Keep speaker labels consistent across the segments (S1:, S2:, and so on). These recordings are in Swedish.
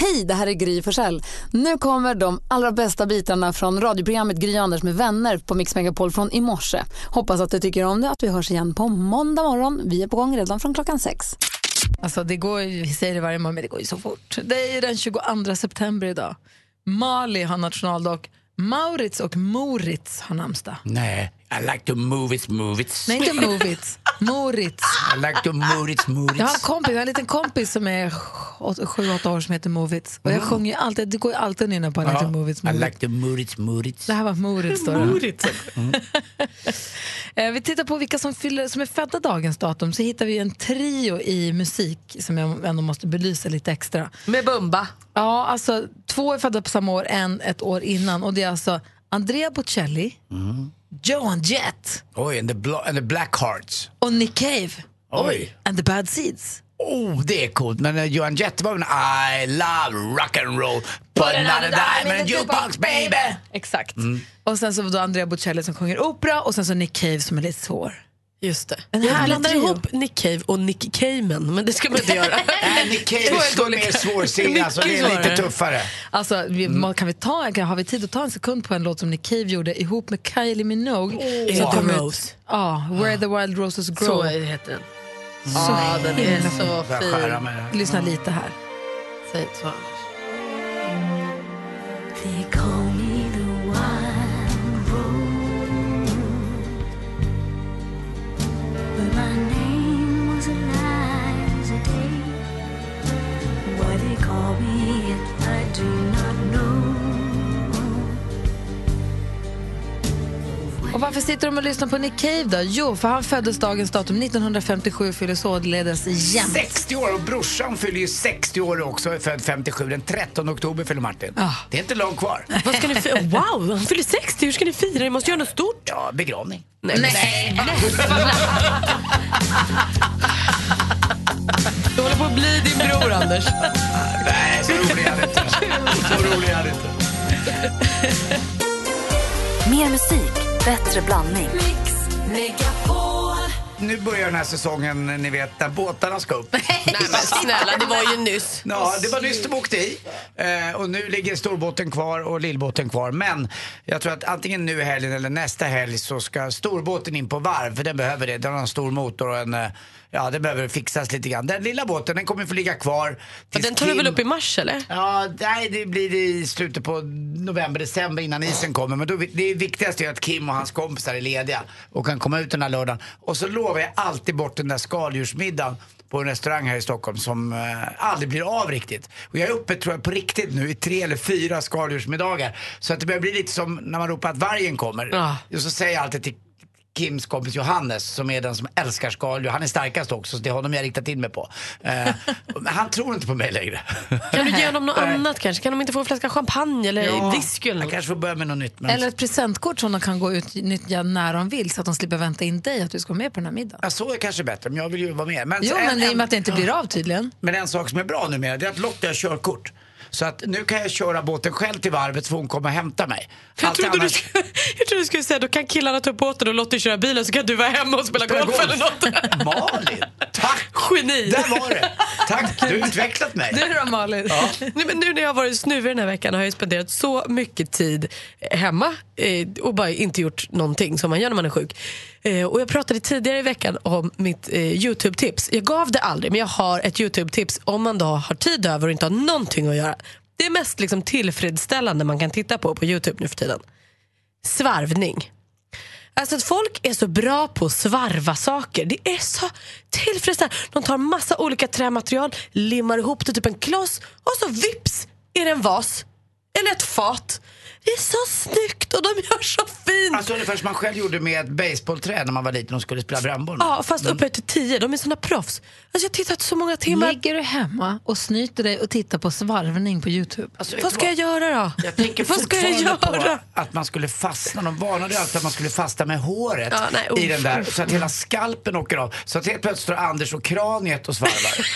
S1: Hej, det här är Gry Forssell. Nu kommer de allra bästa bitarna från radioprogrammet Gry Anders med vänner på Mix Megapol från i morse. Hoppas att du tycker om det att vi hörs igen på måndag morgon. Vi är på gång redan från klockan sex.
S2: Alltså det går ju, vi säger det varje morgon, men det går ju så fort. Det är ju den 22 september idag. Mali har nationaldag. Maurits och Moritz har namnsdag.
S3: Nej, I like to move it, move it.
S2: Nej, inte Movits. Moritz.
S3: I like to move it, move it.
S2: Jag har en kompis, jag har en liten kompis som är 7-8 år som heter Movits. Och jag sjunger ju alltid, det går ju alltid att nynna på
S3: Ja,
S2: ja, Movits,
S3: Uh-huh. I
S2: Movits.
S3: like to move it, move it.
S2: Det här var Moritz då. Moritz. Vi tittar på vilka som, fyller, som är födda dagens datum så hittar vi en trio i musik som jag ändå måste belysa lite extra.
S4: Med Bumba.
S2: Ja, alltså två är födda på samma år, en ett år innan. Och det är alltså Andrea Bocelli, Joan Jett
S3: Oj, Mm-hmm. and the, blo- and the black hearts.
S2: och Nick Cave.
S3: Oj.
S2: And the Bad Seeds.
S3: Oh, det är coolt. Men eh, Johan Jett var väl en I love rock and roll but not a dime in a jukebox baby. Mm.
S2: Exakt. Och sen så då Andrea Bocelli som sjunger opera och sen så Nick Cave som är lite svår.
S4: Just det.
S2: En
S4: jag
S2: härlig
S4: blandar
S2: trio.
S4: ihop Nick Cave och Nick Cayman, men det ska man inte göra.
S3: Nej, Nick Cave är så mer svårsinnad, alltså, det är
S4: Mycket
S3: lite
S4: svårare.
S3: tuffare.
S2: Alltså, vi,
S3: Mm.
S2: kan vi ta, kan, har vi tid att ta en sekund på en låt som Nick Cave gjorde ihop med Kylie Minogue?
S4: Is
S2: Som
S4: it
S2: kom
S4: the
S2: ut-
S4: Oh. Rose?
S2: Ja, Where the Wild Roses Grow.
S4: Så heter den. Ja, den är så
S3: Får jag skära
S4: fin.
S3: med Mm. det?
S2: Lyssna lite här.
S4: Säg inte så annars.
S2: Och varför sitter de och lyssnar på Nick Cave då? Jo, för han föddes dagens datum 1957 fyller således jämt.
S3: 60 år och brorsan fyller ju 60 år också, är född 57. Den 13 oktober fyller Martin. Det är inte långt kvar.
S4: Ah. Vad ska ni fi- wow, han fyller 60. Hur ska ni fira? Ni måste göra något stort.
S3: Ja, begravning.
S4: Du håller på att bli din bror, Anders.
S3: Nej, så rolig är han inte. Så rolig är han inte.
S5: Mer musik, bättre blandning.
S3: Nu börjar den här säsongen, ni vet, där båtarna ska upp.
S4: Nej, men snälla, det var ju nyss.
S3: Ja, det var nyss de åkte i. Eh, och nu ligger storbåten kvar och lillbåten kvar. Men jag tror att antingen nu i helgen eller nästa helg så ska storbåten in på varv. För den behöver det. Den har en stor motor och en... eh, Ja, den behöver fixas lite grann. Den lilla båten, den kommer få ligga kvar.
S4: Och
S3: tills
S4: Den tar du
S3: Kim-
S4: väl upp i mars, eller?
S3: Ja, nej, det blir det i slutet på november, december innan isen kommer. Men då, det viktigaste är att Kim och hans kompisar är lediga och kan komma ut den här lördagen. Och så lovar jag alltid bort den där skaldjursmiddagen på en restaurang här i Stockholm som eh, aldrig blir av riktigt. Och jag är uppe, tror jag, på riktigt nu i tre eller fyra skaldjursmiddagar. Så att det börjar bli lite som när man ropar att vargen kommer.
S4: Ja.
S3: Och så säger jag alltid till Kims kompis Johannes som är den som älskar skaldjur. Han är starkast också, så det är honom jag riktat in mig på. Eh, men han tror inte på mig längre.
S4: Kan du ge honom något
S3: Nej.
S4: annat kanske? Kan de inte få en flaska champagne eller whisky eller
S3: Jag
S4: något?
S3: kanske får börja med något nytt. Men...
S2: Eller ett presentkort som de kan gå och utnyttja när de vill så att de slipper vänta in dig att du ska vara med på den här middagen.
S3: Ja, så är kanske bättre, men jag vill ju vara med. Men,
S2: Jo,
S3: en,
S2: men i och
S3: en,
S2: med att det inte blir av tydligen.
S3: men en sak som är bra numera, det är att Lotta har körkort. Så att nu kan jag köra båten själv till varvet så får hon komma och hämta mig.
S4: Jag
S3: Allt
S4: trodde, du
S3: annars-
S4: skulle, jag trodde du skulle säga då kan killarna ta upp båten och Lottie köra bilen så kan du vara hemma och spela, golf eller något.
S3: Malin, tack!
S4: Geni!
S3: Där var det! Tack, du har utvecklat mig.
S2: Du då Malin? Ja.
S4: Nej, men nu när jag har varit snuvig den här veckan har jag ju spenderat så mycket tid hemma eh, och bara inte gjort någonting som man gör när man är sjuk. Eh, och jag pratade tidigare i veckan om mitt eh, Youtube-tips. Jag gav det aldrig, men jag har ett Youtube-tips om man då har tid över och inte har någonting att göra. Det är mest liksom, tillfredsställande man kan titta på på Youtube nu för tiden. Svarvning. Alltså att folk är så bra på att svarva saker. Det är så tillfredsställande. De tar massa olika trämaterial, limmar ihop det typ en kloss och så vips är det en vas. Eller ett fat. Det är så snyggt och de gör så fint.
S3: Alltså ungefär som man själv gjorde med ett baseballträ när man var liten och skulle spela brännboll. Mm. med.
S4: Ja, fast upphöjt till tio. De är såna proffs. Alltså jag har tittat så många timmar.
S2: Ligger du hemma och snyter dig och tittar på svarvning på Youtube?
S3: Alltså, vet
S4: Vad
S3: du
S4: ska jag göra då?
S3: Jag tänker
S4: Vad ska jag
S3: fortfarande
S4: göra?
S3: på att man skulle fastna. De varnade ju alltid att man skulle fastna med håret
S4: Ja, nej,
S3: i
S4: usch,
S3: den där.
S4: usch.
S3: Så att hela skalpen åker av. Så att helt plötsligt står Anders och kraniet och svarvar.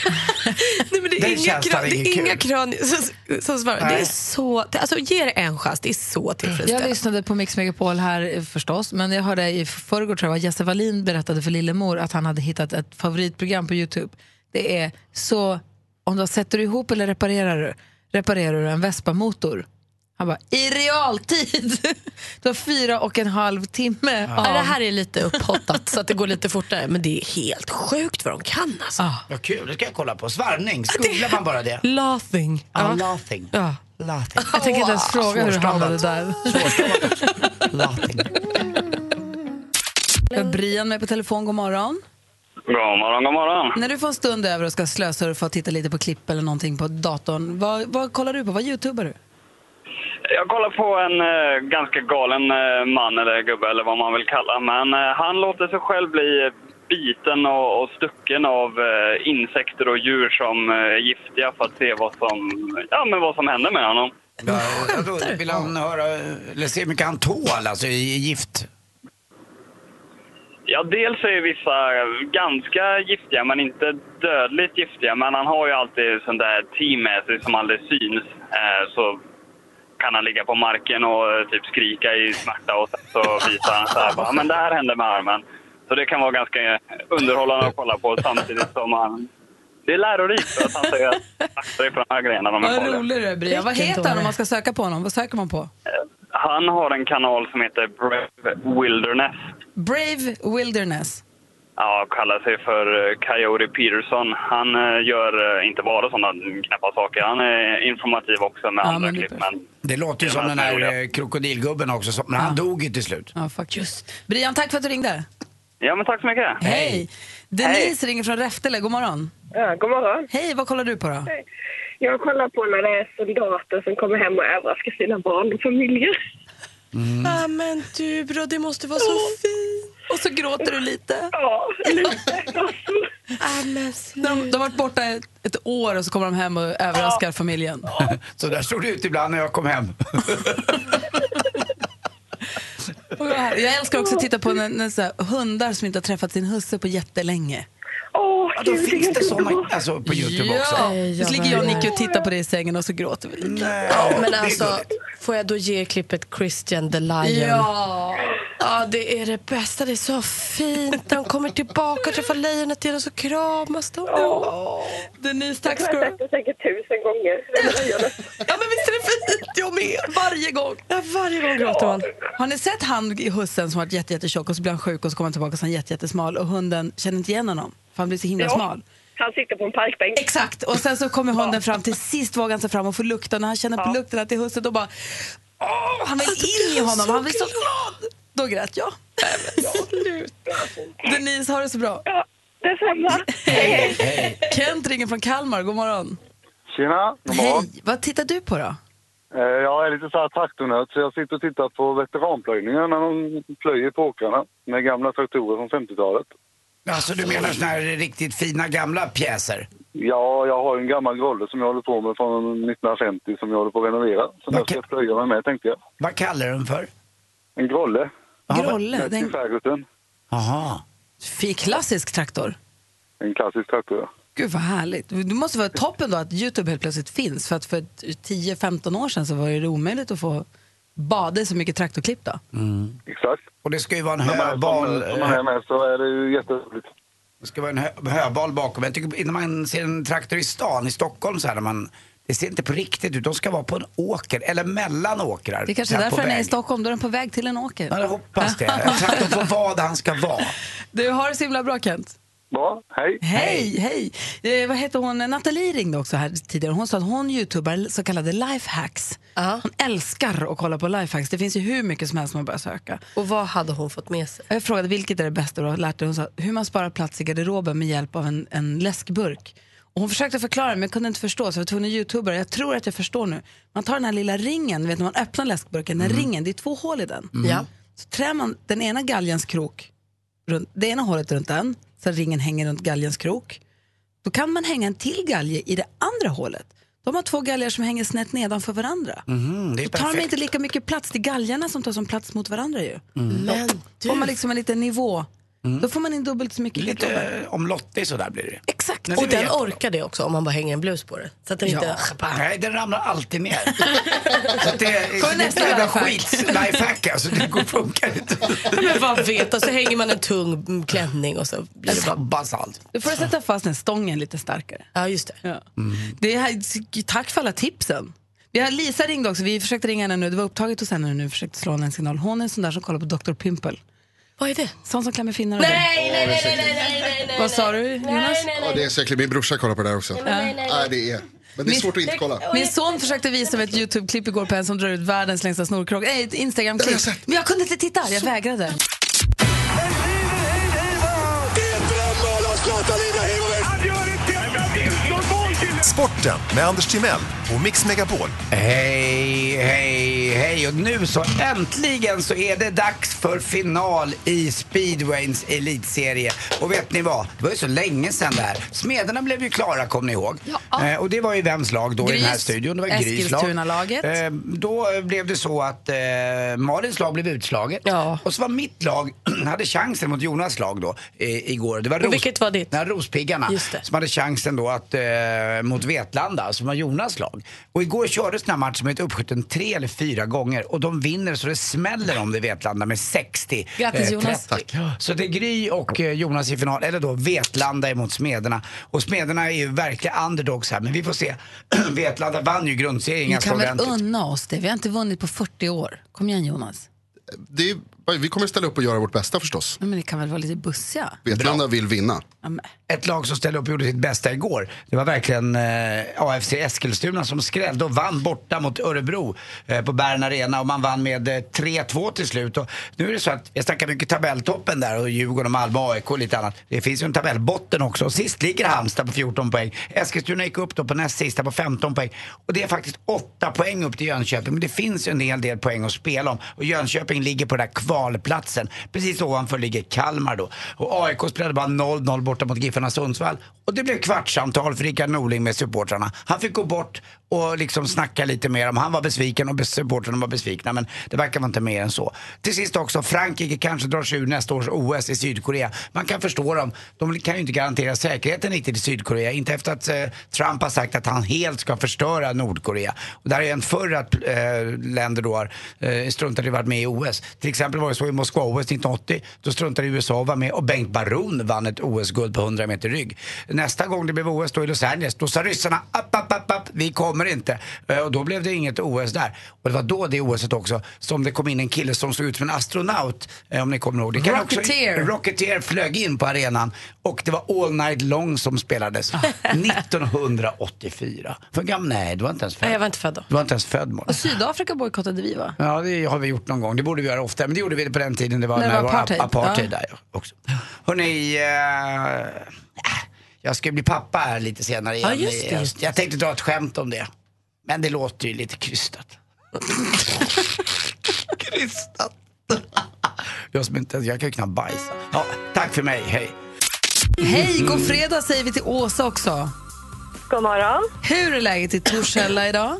S4: Nej, men det
S3: Den
S4: är inga,
S3: känslan
S4: kran,
S3: är
S4: det
S3: ingen
S4: är inga
S3: kul.
S4: kran som, som svarar. Det
S3: Nej.
S4: är så, det, alltså, ge det en chans, det är så
S2: Jag
S4: tillfredsställande.
S2: lyssnade på Mix Megapol här eh, förstås, men jag hörde i förrgår tror jag att Jesse Wallin berättade för Lillemor att han hade hittat ett favoritprogram på Youtube. Det är så, om du sätter du ihop eller reparerar du? Reparerar du en Vespa-motor? Han bara, i realtid! Det var fyra och en halv timme av...
S4: Ja, det här är lite upphottat så att det går lite fortare. Men det är helt sjukt vad de kan alltså.
S2: Ah.
S3: Vad kul, det ska jag kolla på. Svarvning, googlar man bara det.
S4: Laughing.
S3: Ja. Laughing.
S4: Ja.
S3: Laughing.
S2: Jag tänker inte ens fråga hur du
S3: Svårstavat.
S2: hamnade där.
S3: Laughing.
S2: Jag har Brian med på telefon, god morgon.
S6: God morgon, god morgon.
S2: När du får en stund över och ska slösurfa och titta lite på klipp eller någonting på datorn, vad, vad kollar du på? Vad youtubar du?
S6: Jag kollar på en eh, ganska galen eh, man eller gubbe eller vad man vill kalla. Men eh, han låter sig själv bli eh, biten och, och stucken av eh, insekter och djur som eh, är giftiga för att se vad som, ja, men vad som händer med honom.
S3: Ja, och då vill han höra, eller se hur mycket han tål, alltså i i gift.
S6: Ja, dels är vissa ganska giftiga, men inte dödligt giftiga. Men han har ju alltid sånt där team med sig som aldrig syns. Eh, så kan han ligga på marken och eh, typ skrika i smärta och sen så visar han så här, bara, "Ja, men det här hände med armen. Så det kan vara ganska underhållande att kolla på samtidigt som han... Det är lärorikt för att han säger att akta dig för de här grejerna, de är
S2: Vad
S6: farliga.
S2: rolig du är, Brian. Vad
S4: Vilken
S2: heter han om
S4: dåre.
S2: man ska söka på honom? Vad söker man på?
S6: Eh, Han har en kanal som heter Brave Wilderness.
S2: Brave Wilderness.
S6: Ja, kallar sig för eh, Coyote Peterson. Han eh, gör eh, inte bara sådana knäppa saker. Han är informativ också med
S2: Ja,
S6: andra
S2: men det är
S6: klipp. Men
S3: Det låter ju
S6: Ja,
S3: som
S6: men
S3: den här
S6: roliga.
S3: eh, krokodilgubben också, som, men han dog ju till slut.
S2: Ja, faktiskt. Brian, tack för att du ringde.
S6: Ja, men tack så mycket.
S2: Hej. Denise ringer från Räftele. God morgon.
S7: Ja, god morgon.
S2: Hej, vad kollar du på då?
S7: Jag kollar på när det är soldater som kommer hem och överraskar sina barn och familjer.
S3: Mm.
S4: Ah, men du bro, det måste vara så fint. Och så gråter du lite.
S7: Ja, lite.
S4: Ah, men snälla.
S2: De, de har varit borta ett, ett år och så kommer de hem och överraskar familjen.
S3: Så där såg det ut ibland när jag kom hem.
S2: Och jag- Jag älskar också att titta på när, när så här, hundar som inte har träffat sin husse på jättelänge.
S7: Åh,
S3: Ja, då
S7: gud,
S3: finns
S7: är
S3: det
S7: så
S3: såna
S7: bra.
S3: alltså, på Youtube också.
S2: Ja, så ligger jag och Nicky och tittar på det i sängen och så gråter vi lite.
S3: Nej,
S4: Men
S3: det är
S4: alltså,
S3: gulligt.
S4: får jag då ge klippet Christian the Lion?
S2: Ja.
S4: Ja, det är det bästa. Det är så fint. De kommer tillbaka och träffar lejonet igen och så kramas de.
S2: Denise,
S7: Jag
S2: tack ska du
S7: har
S2: ha.
S7: sagt det säkert tusen gånger. Det är löjonet.
S2: Ja, men visst är det fint? Jag med. Varje gång.
S4: Ja, varje gång gråter man.
S2: Har ni sett han i hussen som varit jätte, jättetjock och så blir han sjuk och så kommer han tillbaka och så är han jätte, jättesmal och hunden känner inte igen honom för han blir så himla
S7: Ja.
S2: smal.
S7: Han sitter på en parkbänk.
S2: Exakt! Och sen så kommer hunden fram till sist vågar han sig fram och får lukta när han känner på lukten att det är husse då bara Åh, han vill in i honom, han blir så glad! Då grät jag. Denise, har det så bra.
S7: Ja, detsamma. Hej, hej.
S2: Kent ringer från Kalmar, god morgon.
S8: Tjena, god morgon.
S2: Hej! Vad tittar du på då?
S8: Eh, Jag är lite så här traktornörd så jag sitter och tittar på veteranplöjningen när de plöjer på åkrarna med gamla traktorer från 50-talet.
S3: Alltså du menar såna här riktigt fina gamla pjäser?
S8: Ja, jag har ju en gammal grolle som jag håller på med från 1950 som jag håller på att renovera. Som jag ska
S3: Okej.
S8: plöja mig med tänkte jag.
S3: Vad kallar du dem för?
S8: En grolle.
S2: Grolle,
S8: Mest i
S2: den
S8: Ferguson.
S3: Jaha.
S2: fin, klassisk traktor.
S8: En klassisk traktor. ja.
S2: Gud vad härligt. Det måste vara toppen då att Youtube helt plötsligt finns. För att för 10-15 år sedan så var det omöjligt att få bada i så mycket traktorklipp då.
S8: Exakt.
S3: Och det ska ju vara en
S8: När man är
S3: höbal,
S8: som- Som man är med så är det ju jätteroligt.
S3: det ska vara en hö, höbal bakom. Jag tycker innan man ser en traktor i stan, i Stockholm så här, när man, det ser inte på riktigt ut. De ska vara på en åker, eller mellan åkrar.
S2: Det är kanske
S3: så här,
S2: därför
S3: på
S2: den är i
S3: väg.
S2: Stockholm, då är den på väg till en åker.
S3: Ja, jag hoppas det. En traktor får vara där han ska vara.
S2: Du har det så himla bra Kent.
S8: Bra, hej.
S2: Hej, hej. Eh, vad heter hon? Nathalie ringde också här tidigare. Hon sa att hon youtubar så kallade lifehacks.
S4: Ja.
S2: Hon älskar att kolla på lifehacks. Det finns ju hur mycket som helst man börjar söka.
S4: Och vad hade hon fått med sig?
S2: Jag frågade vilket är det bästa du har lärt dig. Hon sa hur man sparar plats i garderoben med hjälp av en, en läskburk. Och hon försökte förklara men jag kunde inte förstå så jag var tvungen att youtuba det. Jag tror att jag förstår nu. Man tar den här lilla ringen, vet när man öppnar läskburken, den ringen, det är två hål i den.
S7: Mm. Ja.
S2: Så trär man den ena galjens krok, runt, det ena hålet runt den, så att ringen hänger runt galjens krok. Då kan man hänga en till galge i det andra hålet. Då har man två galgar som hänger snett nedanför varandra.
S3: Mhm, det är
S2: Då tar de
S3: perfekt.
S2: inte lika mycket plats. Det är galgarna som tar som plats mot varandra ju.
S3: Mm.
S2: Då får man liksom en liten nivå.
S3: Mm.
S2: Då får man in dubbelt så mycket
S3: Lite
S2: kartonger.
S3: eh, omlottig sådär blir det.
S2: Exakt.
S4: Och den orkar det också om man bara hänger en blus på det. Så att den inte...
S3: Nej, den ramlar alltid ner. så att det är,
S4: Får
S3: så det
S4: nästa
S3: är en
S4: lifehack.
S3: skits lifehack alltså. Det går, funkar inte.
S4: Men vad vet, och så hänger man en tung mm, klänning och så blir det bara...
S3: Basalt.
S2: Du får sätta fast den stången lite starkare.
S4: Ja, just det.
S2: det här, tack för alla tipsen. Vi har, Lisa ringde också. Vi försökte ringa henne nu. Det var upptaget hos henne nu. Vi försökte slå henne en signal. Hon är en sån där som kollar på Dr. Pimple.
S4: Vad är det?
S2: Sån som klämmer finnar och
S4: Nej,
S2: grejer.
S4: nej, nej, nej, nej, nej, nej, nej.
S2: Vad sa du, Jonas?
S9: Ja, det är så äckligt. Min brorsa kollar på det här också.
S2: Nej, men nej, nej,
S9: Nej, det är. Men det är
S2: Min-
S9: svårt att inte kolla.
S2: Min son försökte visa mig ett YouTube-klipp igår på en som drar ut världens längsta snorkrok. Nej, ett Instagram-klipp. Men jag kunde inte titta, jag vägrade.
S10: Sporten med Anders Timell och Mix Megapol.
S3: Hej, hej, hej. Och nu så äntligen så är det dags för final i speedwayns elitserie. Och vet ni vad? Det var ju så länge sedan det här. Smederna blev ju klara, kommer ni ihåg?
S2: Ja.
S3: Eh, och det var ju vems lag då i den här
S2: Grys,
S3: studion? Det var Grys lag.
S2: Eskilstuna-laget.
S3: Eh, då blev det så att eh, Malins lag blev utslaget. Och så var mitt lag, hade chansen mot Jonas lag då, eh, igår. Det var
S4: Och vilket
S3: var ditt? Nej, Rospiggarna.
S4: Just det.
S3: Som hade chansen då att, eh, mot Vetlanda, som var Jonas lag. Och igår kördes den här matchen med ett uppskjuten tre eller fyra gånger. Och de vinner så det smäller om det Vetlanda med eh, 60.
S2: Grattis, Jonas.
S3: 30. Så det är Gry och eh, Jonas i final, eller då Vetlanda emot Smederna. Och Smederna är ju verkliga underdogs här, men vi får se. Vetlanda vann ju grundserien
S2: Vi
S3: ganska
S2: kan väl
S3: ordentligt.
S2: unna oss det. Vi har inte vunnit på 40 år. Kom igen Jonas.
S9: Det är, vi kommer ställa upp och göra vårt bästa förstås.
S2: Ja, Men ni kan väl vara lite bussiga?
S9: Vetlanda vill vinna.
S3: Ett lag som ställde upp och gjorde sitt bästa igår. Det var verkligen eh, AFC Eskilstuna som skrällde och vann borta mot Örebro eh, på Bern Arena och man vann med eh, 3-2 till slut. Och nu är det så att, jag snackar mycket tabelltoppen där och Djurgården och Malmö AIK och lite annat. Det finns ju en tabellbotten också och sist ligger Halmstad på 14 poäng. Eskilstuna gick upp då på näst sista på 15 poäng och det är faktiskt 8 poäng upp till Jönköping. Men det finns ju en hel del poäng att spela om och Jönköping ligger på den där kvalplatsen. Precis ovanför ligger Kalmar då. Och AIK spelade bara 0-0 borta mot Giffarna Sundsvall. Och det blev kvartssamtal för Rickard Norling med supportrarna. Han fick gå bort och liksom snacka lite mer om han var besviken och supportrarna var besvikna. Men det verkar vara inte mer än så. Till sist också, Frankrike kanske drar sig ur nästa års OS i Sydkorea. Man kan förstå dem. De kan ju inte garantera säkerheten riktigt i Sydkorea. Inte efter att eh, Trump har sagt att han helt ska förstöra Nordkorea. Och där har ju hänt förr att eh, länder då har eh, struntat i att vara med i OS. Till exempel var det så i Moskva-OS 1980. Då struntade USA att vara med och Bengt Baron vann ett OS-guld på 100 meter rygg. Nästa gång det blev OS då i Los Angeles, då sa ryssarna app, app, app, app, vi kommer inte. Eh, Och då blev det inget OS där. Och det var då det OSet också som det kom in en kille som såg ut som en astronaut, eh, om ni kommer ihåg. Det kan också-
S7: Rocketeer.
S3: Rocketeer flög in på arenan och det var All Night Long som spelades 1984. För gammal? Nej, du var inte ens född.
S4: Nej, jag var inte född då.
S3: Du var inte ens född Malin.
S2: Och Sydafrika bojkottade vi va?
S3: Ja, det har vi gjort någon gång. Det borde vi göra ofta. Men det gjorde vi på den tiden det var,
S2: När det
S3: när det
S2: var
S3: var
S2: apartheid.
S3: apartheid, apartheid
S2: Ja.
S3: där ja, också. Hörrni, eh, äh, jag ska bli pappa här lite senare igen.
S4: Ja, just det,
S3: Jag-
S4: just det.
S3: Jag tänkte dra ett skämt om det. Men det låter ju lite krystat. krystat. jag, som inte, jag kan ju knappt bajsa. Ja, tack för mig, hej.
S2: Hej,
S9: Mm.
S2: god fredag säger vi till Åsa också.
S11: God morgon.
S2: Hur är läget i Torshälla idag?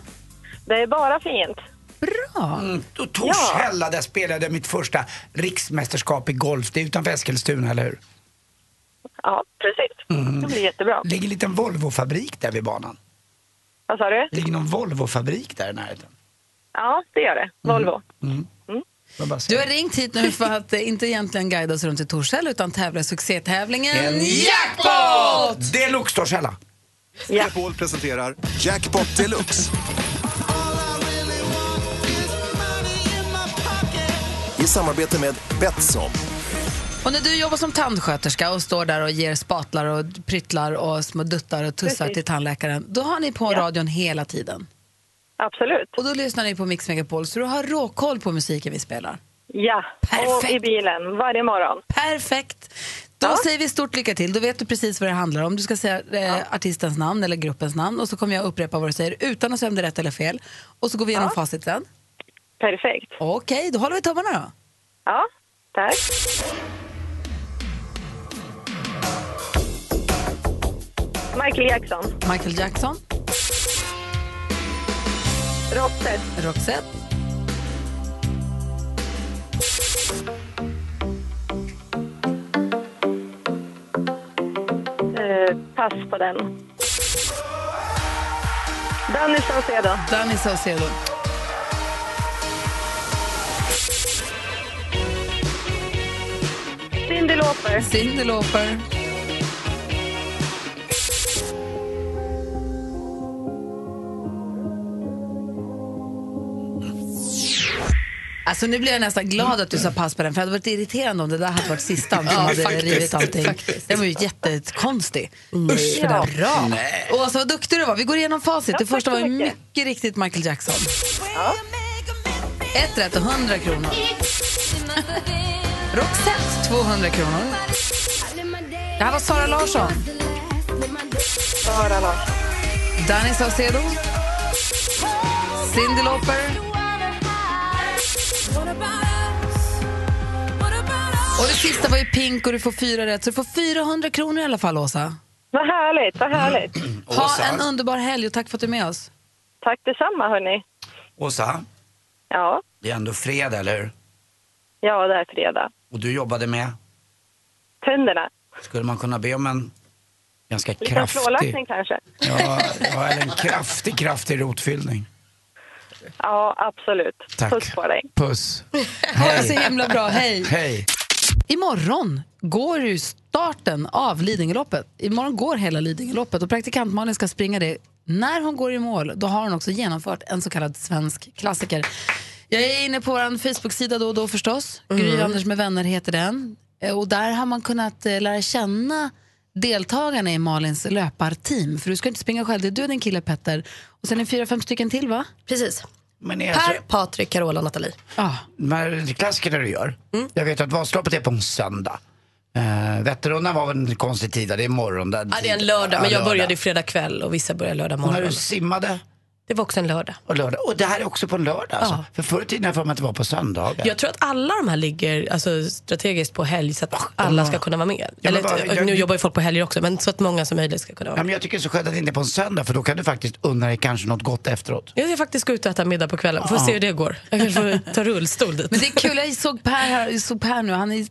S11: Det är bara fint.
S2: Bra.
S3: Mm, och Torshälla, där spelade jag mitt första riksmästerskap i golf. Det är utanför Eskilstuna, eller hur?
S11: Ja, precis.
S3: Mm.
S11: Det blir jättebra.
S3: ligger en liten Volvo-fabrik där vid banan.
S11: Vad sa du?
S3: Det ligger någon Volvo-fabrik där i närheten.
S11: Ja, det gör det. Volvo.
S3: Mm. Jag bara säger.
S2: Du har ringt hit nu för att eh, inte egentligen guida oss runt i Torshälla utan tävla i succétävlingen
S3: En jackpot! Deluxe Torshälla.
S10: Megapol presenterar Jackpot Deluxe. I samarbete med Betsson.
S2: Och när du jobbar som tandsköterska och står där och ger spatlar och pryttlar och små duttar och tussar
S11: Precis.
S2: till tandläkaren, då har ni på radion hela tiden.
S11: Absolut.
S2: Och då lyssnar ni på Mix Megapol, så du har råkoll på musiken vi spelar.
S11: Ja, och i bilen varje morgon.
S2: Perfekt. Då säger vi stort lycka till. Då vet du precis vad det handlar om. Du ska säga eh, artistens namn eller gruppens namn och så kommer jag upprepa vad du säger utan att säga om det är rätt eller fel. Och så går vi igenom facit sen.
S11: Perfekt.
S2: Okej, då håller vi tummarna då.
S11: Ja, tack. Michael Jackson.
S2: Michael Jackson,
S11: Roxette.
S2: Roxette,
S11: Eh, pass på den. Danny Saucedo.
S2: Danny Saucedo.
S11: Cyndi Lauper.
S2: Cyndi Lauper. Alltså nu blir jag nästan glad att du sa pass på den för det hade varit irriterande om det där hade varit sista om du
S7: Ja,
S2: hade
S7: faktiskt.
S2: rivit allting.
S7: Faktiskt.
S2: Den var ju jättekonstig.
S7: Nej.
S2: Usch, för den.
S7: Ja.
S2: Bra! Och alltså vad duktig du var. Vi går igenom facit.
S7: Ja,
S2: det första
S7: tack
S2: var
S7: så
S2: ju
S7: mycket.
S2: mycket riktigt Michael Jackson. Ett rätt och 100 kronor. Roxette 200 kronor. Det här var Sara Larsson.
S11: Sara Larsson.
S2: Danny Saucedo. Cyndi Lauper. Och det sista var ju Pink och du får fyra rätt. Så du får 400 kronor i alla fall, Åsa.
S11: Vad härligt, vad härligt.
S2: Ha en underbar helg och tack för att du är med oss.
S11: Tack detsamma, hörni.
S3: Åsa,
S11: Ja,
S3: det är ändå fredag, eller hur?
S11: ja, det är fredag.
S3: Och du jobbade med,
S11: Tänderna.
S3: skulle man kunna be om en ganska
S11: Liten
S3: kraftig...
S11: flårlaxning kanske?
S3: Ja, ja, eller en kraftig, kraftig rotfyllning.
S11: Ja, absolut.
S3: Tack.
S11: Puss på dig.
S3: Puss.
S2: Ha det så himla bra. Hej!
S3: Hej.
S2: Imorgon går ju starten av Lidingöloppet. Imorgon går hela Lidingöloppet och praktikant Malin ska springa det. När hon går i mål, då har hon också genomfört en så kallad svensk klassiker. Jag är inne på vår Facebook-sida då och då förstås. Gry
S7: Mm.
S2: Anders med vänner heter den. Eh, Och där har man kunnat eh, lära känna deltagarna i Malins löparteam. För du ska inte springa själv, det är du och din kille Petter. Och sen är det fyra, fem stycken till va?
S4: Precis.
S3: Men
S4: Per,
S3: är alltså-
S4: Patrik, Carola, Nathalie.
S2: Ja.
S3: De här klassikerna du gör.
S4: Mm.
S3: Jag vet att Vasaloppet är på en söndag. Uh, Vätternrundan var väl en konstig tid, det är morgon. Där,
S4: Ja, det är en lördag,
S3: Ja,
S4: men jag
S3: lördag.
S4: började ju fredag kväll och vissa börjar lördag
S3: Och när
S4: morgon.
S3: du simmade?
S4: Det var också en lördag.
S3: Och, lördag. och det här är också på en lördag alltså. För förr i tiden har jag för mig att det var på söndagar.
S4: Jag tror att alla de här ligger alltså, strategiskt på helg så att alla ska kunna vara med.
S3: men
S4: Eller,
S3: vad- jag-
S4: nu jobbar ju folk på helger också, men så att många som möjligt ska kunna vara
S3: Ja,
S4: med.
S3: men jag tycker det är så skönt att det inte är på en söndag för då kan du faktiskt unna dig kanske något gott efteråt.
S4: Jag ska faktiskt gå ut och äta middag på kvällen. Får
S3: Ja.
S4: se hur det går. Jag kanske får ta rullstol dit.
S2: Men det är kul, jag såg Per, här, jag såg per nu. Han är,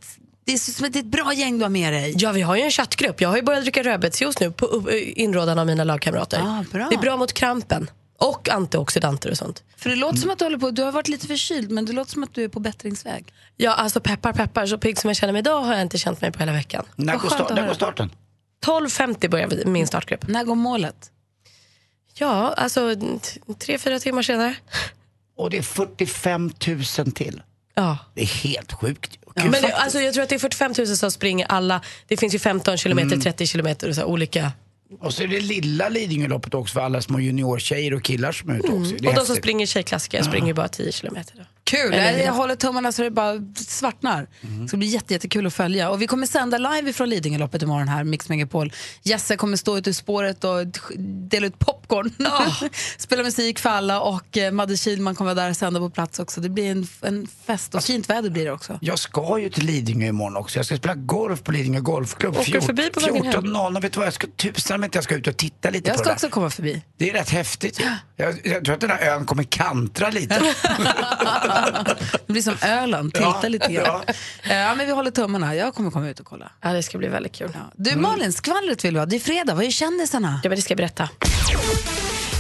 S2: det är som ett, det är ett bra gäng du har med dig.
S4: Ja, vi har ju en chattgrupp. Jag har ju börjat dricka rödbetsjuice nu på upp- inrådan av mina lagkamrater.
S3: Ah,
S4: Det är bra mot krampen och antioxidanter och sånt.
S2: För det låter som att du håller på, du har varit lite förkyld men det låter som att du är på bättringsväg.
S4: Ja, alltså peppar peppar, så pigg som jag känner mig idag har jag inte känt mig på hela veckan.
S3: När
S4: Vad
S3: går,
S4: skönt
S3: start,
S4: att
S3: när
S4: höra.
S3: går starten?
S4: 12.50 börjar vi- min startgrupp.
S2: När går målet?
S4: Ja, alltså t- tre, fyra timmar senare.
S3: Och det är 45 000 till.
S4: Ja.
S3: Det är helt sjukt.
S4: Men det, alltså, jag tror att det är 45 000 som springer alla. Det finns ju 15 kilometer,
S3: Mm.
S4: 30 kilometer och så här, olika.
S3: Och så är det lilla Lidingöloppet också för alla små juniortjejer och killar som är ute
S2: Mm.
S3: också.
S4: Mm. Och
S3: Det är
S4: de som
S3: häftigt.
S4: springer tjejklassiker springer ju bara 10 kilometer. Då.
S2: Kul,
S4: Eller
S2: jag, jag
S4: hur?
S2: håller tummarna så det bara svartnar. Det ska bli jätte, jättekul att följa. Och vi kommer sända live från Lidingöloppet imorgon här, Mix Megapol. Jesse kommer stå ute i spåret och sk- dela ut popcorn,
S4: Ah.
S2: spela musik för alla och eh, Madde Kihlman kommer vara där och sända på plats också. Det blir en, en fest och fint väder blir det också.
S3: Jag ska ju till Lidingö imorgon också. Jag ska spela golf på Lidingö golfklubb.
S2: Åker du förbi på vägen hem?
S3: 14.00. Vet du vad, jag ska tusan om inte jag ska ut och titta lite
S2: Jag
S3: på
S2: ska
S3: det
S2: också
S3: där.
S2: komma förbi.
S3: Det är rätt häftigt. ju. Jag, jag tror att den här ön kommer kantra lite.
S2: Det blir som Öland, tilta
S3: Ja,
S2: lite grann. Eh, Ja. men vi håller tummarna. Jag kommer komma ut och kolla.
S4: Ja, det ska bli väldigt kul. Mm.
S2: Du Malin, skvallret vill du ha. Det är fredag, vad är kändisarna?
S4: Ja, men det ska jag berätta.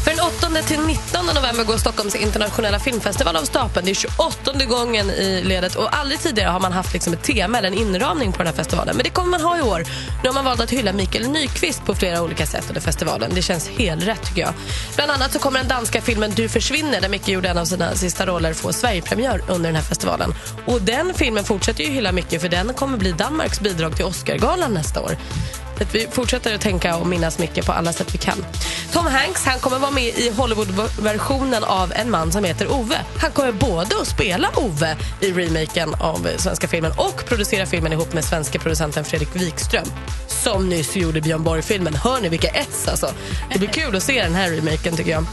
S4: För den 8 till 19 november går Stockholms internationella filmfestival av stapeln. Det är 28 gången i ledet och aldrig tidigare har man haft liksom ett tema eller en inramning på den här festivalen. Men det kommer man ha i år. Nu har man valt att hylla Mikael Nyqvist på flera olika sätt under festivalen. Det känns helt rätt tycker jag. Bland annat så kommer den danska filmen Du försvinner där Micke gjorde en av sina sista roller få Sverigepremiär under den här festivalen. Och den filmen fortsätter ju hylla Micke för den kommer bli Danmarks bidrag till Oscargalan nästa år. Att vi fortsätter att tänka och minnas mycket på alla sätt vi kan. Tom Hanks han kommer vara med i Hollywood-versionen av En man som heter Ove. Han kommer både att spela Ove i remaken av eh, svenska filmen och producera filmen ihop med svenska producenten Fredrik Wikström som nyss gjorde Björn Borg-filmen. Hör ni vilka ets alltså? Det blir kul att se den här remaken tycker jag.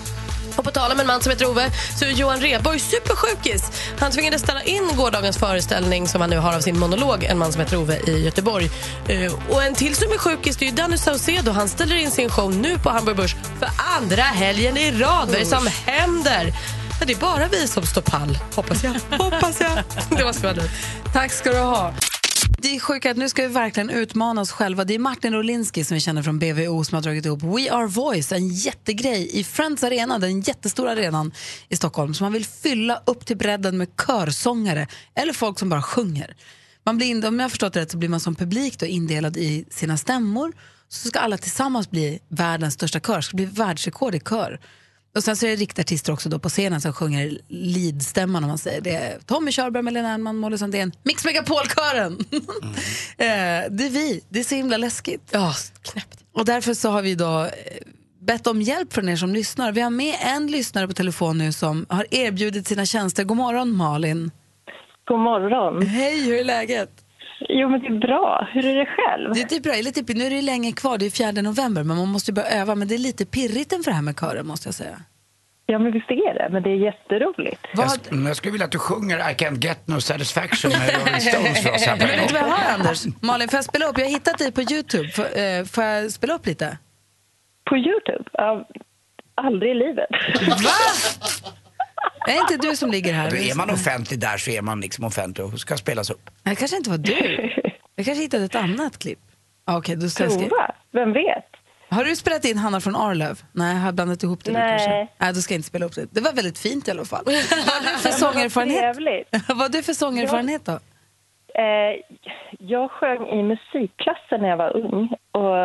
S4: Och på tal om en man som heter Ove så är Johan Rheborg supersjukis. Han tvingades ställa in gårdagens föreställning som han nu har av sin monolog En man som heter Ove i Göteborg. Eh, Och en till som är sjukis det är ju Danny Saucedo. Han ställer in sin show nu på Hamburg Börs för andra helgen i rad. Vad är det som händer? Ja, det är bara vi som står pall, hoppas jag. Hoppas jag. Det var skvallret.
S2: Tack ska du ha. Det är sjukt att nu ska vi verkligen utmana oss själva. Det är Martin Rolinski som vi känner från BVO som har dragit ihop We Are Voice, en jättegrej i Friends Arena, den jättestora arenan i Stockholm som man vill fylla upp till bredden med körsångare eller folk som bara sjunger. Man blir, in- om jag har förstått det rätt så blir man som publik då indelad i sina stämmor så ska alla tillsammans bli världens största kör, ska bli världsrekord i kör. Och sen så är det riktartister också då på scenen som sjunger leadstämman om man säger det. är Tommy Körberg, Melina Ernman, Molly Sandén, Mix Megapol-kören. Eh, det är vi, det är så himla läskigt.
S4: Ja,
S2: knäppt. Och därför så har vi då eh, bett om hjälp från er som lyssnar. Vi har med en lyssnare på telefon nu som har erbjudit sina tjänster. God morgon Malin.
S11: God morgon.
S2: Hej, hur är läget?
S11: Jo, men det är bra. Hur är det själv?
S2: Det är typ bra. Jag är lite, nu är det länge kvar, det är 4 november, men man måste ju börja öva. Men det är lite pirrigt inför det här med kören måste jag säga.
S11: Ja, men visst är det. Men det är jätteroligt.
S3: Jag, sk- men jag skulle vilja att du sjunger I can't get no satisfaction med Rolling Stones för oss här på
S2: Men vet du vad jag
S3: en gång.
S2: har Anders? Malin, får jag spela upp? Jag har hittat dig på Youtube. Får, eh, får jag spela upp lite?
S11: På Youtube? Ja, aldrig i livet.
S2: Är inte du som ligger här?
S3: Då är man offentlig där så är man liksom offentlig och ska spelas upp.
S2: Nej, det kanske inte var du. Jag kanske hittade ett annat klipp. Ah, Okej, då ska jag skriva.
S11: Prova. Vem vet?
S2: Har du spelat in Hanna från Arlöv? Nej, jag har blandat ihop det
S11: Nej.
S2: då kanske. Nej, då ska jag inte spela upp det. Det var väldigt fint i alla fall. Vad har du för
S11: Vad
S2: sångerfarenhet?
S11: trevligt.
S2: Vad har du för sångerfarenhet då?
S11: Eh, jag sjöng i musikklassen när jag var ung och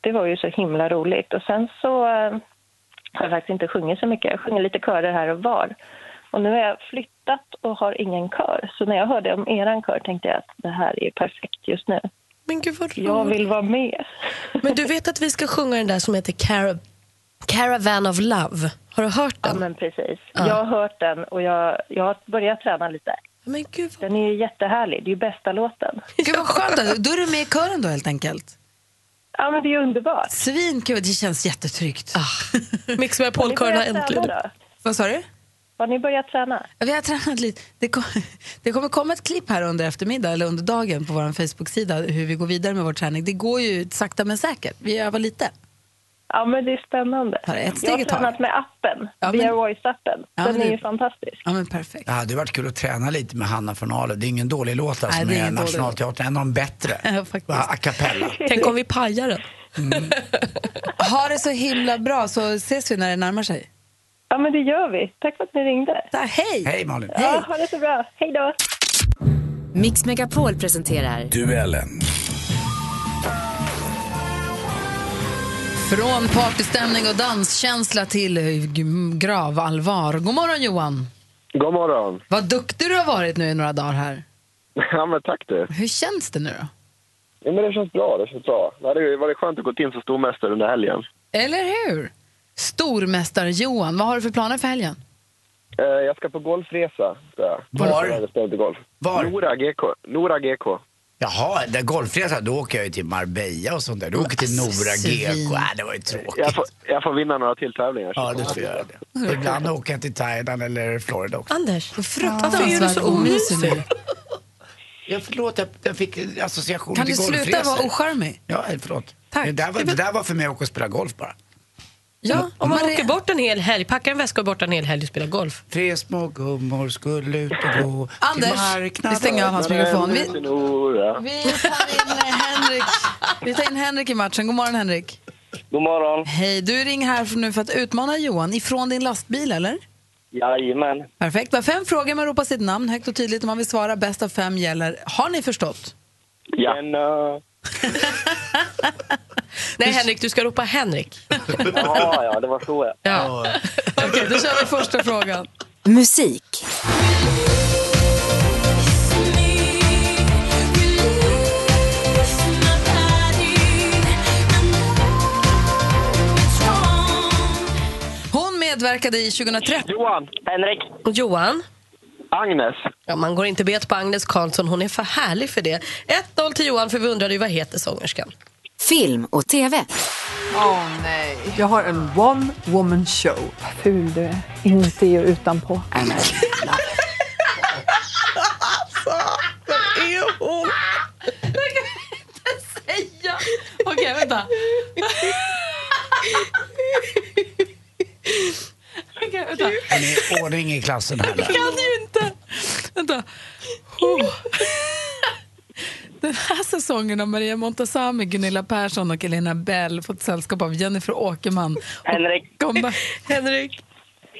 S11: det var ju så himla roligt. Och sen så eh, har jag faktiskt inte sjungit så mycket. Jag sjunger lite körer här och var. Och nu har jag flyttat och har ingen kör. Så när jag hörde om eran kör tänkte jag att det här är perfekt just nu.
S4: Men gud vad
S11: Jag
S4: roligt.
S11: vill vara med.
S4: Men du vet att vi ska sjunga den där som heter Cara- Caravan of Love. Har du hört den?
S11: Ja, men precis. Jag har hört den och jag, jag har börjat träna lite.
S4: Men gud
S11: Den är ju jättehärlig. Det är ju bästa låten.
S2: Gud vad skönt. att- Då är du med i kören då helt enkelt?
S11: Ja, men det är underbart.
S2: Svinkul, det känns jättetryggt.
S4: Mix med polkörerna äntligen.
S2: Vad sa du?
S11: Har ni börjat träna?
S2: Ja, Vi har tränat lite. Det, kom, det kommer komma ett klipp här under eftermiddag eller under dagen på vår Facebook-sida hur vi går vidare med vår träning. Det går ju sakta men säkert. Vi övar lite.
S11: Ja, men det är spännande.
S2: ett
S11: jag
S2: steg
S11: har
S2: i taget.
S11: tränat med appen,
S2: Ja, men-
S11: via Voice-appen.
S2: Ja, men
S11: den är
S2: det-
S11: ju fantastisk.
S2: Ja, men perfekt.
S3: Det hade varit kul att träna lite med Hanna från Arlöv. Det är ingen dålig låt
S2: Nej,
S3: alltså
S2: det är
S3: med
S2: ingen dålig
S3: Nationalteatern. En av de bättre.
S2: Ja, faktiskt.
S3: Bara A cappella.
S4: Tänk om vi pajar den.
S2: Mm. Ha det så himla bra så ses vi när det närmar sig.
S11: Ja, men det gör vi. Tack för att ni ringde.
S2: hej!
S3: Hej Malin.
S11: Ja, ha det så bra. Hej då!
S12: Mix Megapol presenterar...
S13: Duellen.
S2: Från partystämning och danskänsla till eh, g- gravallvar. God morgon Johan!
S14: God morgon.
S2: Vad duktig du har varit nu i några dagar här.
S14: Ja, men tack du.
S2: Hur känns det nu då?
S14: Ja, men det känns bra. Det känns bra. Det hade ju varit skönt att gå in som stormästare under helgen.
S2: Eller hur? Stormästar-Johan, vad har du för planer för helgen?
S14: Eh, jag ska på golfresa. ska jag.
S3: Var?
S14: Jag spelar inte golf.
S3: Var?
S14: Nora GK. Nora GK.
S3: Jaha, där golfresa, då åker jag ju till Marbella och sånt där. Då åker jag till Nora GK. Äh, det var ju tråkigt.
S14: Jag får, jag får vinna några till tävlingar.
S3: Ja, du får göra det. Och Ibland åker jag till Thailand eller Florida också.
S4: Anders,
S2: Varför är du så omysig nu?
S3: Ja, förlåt, jag- jag fick association
S2: Kan
S3: till
S2: du sluta
S3: golfresor.
S2: vara ocharmig?
S3: Ja, eh, förlåt.
S2: Tack.
S3: Det, där var, det där var för mig att åka och spela golf bara.
S2: Ja,
S4: Om man
S2: Maria-
S4: åker bort en hel helg, packar en väska och bort en hel helg och spelar golf.
S3: Tre små gummor skulle ut och gå
S2: Anders,
S3: till marknaden.
S2: vi stänger av hans mikrofon. Vi-
S14: Vi
S2: tar in Henrik. Vi tar in Henrik i matchen. God morgon Henrik.
S7: God morgon.
S2: Hej, du ringer här för- nu för att utmana Johan ifrån din lastbil eller?
S7: Jajamän.
S2: Perfekt. Vi har fem frågor. Man ropar sitt namn högt och tydligt om man vill svara. Bäst av fem gäller. Har ni förstått?
S7: Ja. Men, eh,
S4: Nej Henrik, du ska ropa Henrik.
S7: ja, ja, det var så ja.
S4: Ja.
S2: Okej, då kör vi första frågan.
S12: Musik.
S2: medverkade i 2013? Johan.
S14: Henrik.
S2: Johan.
S14: Agnes.
S2: Ja, man går inte bet på Agnes Karlsson, hon är för härlig för det. 1-0 till Johan, för vi undrade ju vad heter sångerskan?
S15: Film och TV.
S16: Åh nej. Jag har en one woman show. Ful du är. Inuti och utanpå.
S2: Alltså, Vem är hon? Jag kan inte säga. Okej, vänta. Okej, vänta.
S3: Han är ordning i klassen här.
S2: Jag kan ju inte. Vänta. Oh. Den här säsongen har Maria Montazami, Gunilla Persson och Elena Bell fått sällskap av Jennifer Åkerman.
S14: Henrik.
S2: Henrik.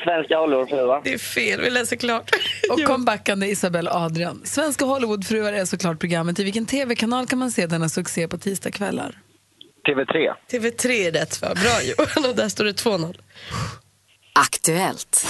S14: Svenska Hollywoodfruar.
S2: Det är fel, vi läser klart. Och comebackande Isabelle Adrian. Svenska Hollywoodfruar är såklart programmet. I vilken tv-kanal kan man se denna succé på tisdagskvällar?
S14: TV3.
S2: TV3 är rätt svar. Bra Johan, och där står det 2-0.
S15: Aktuellt.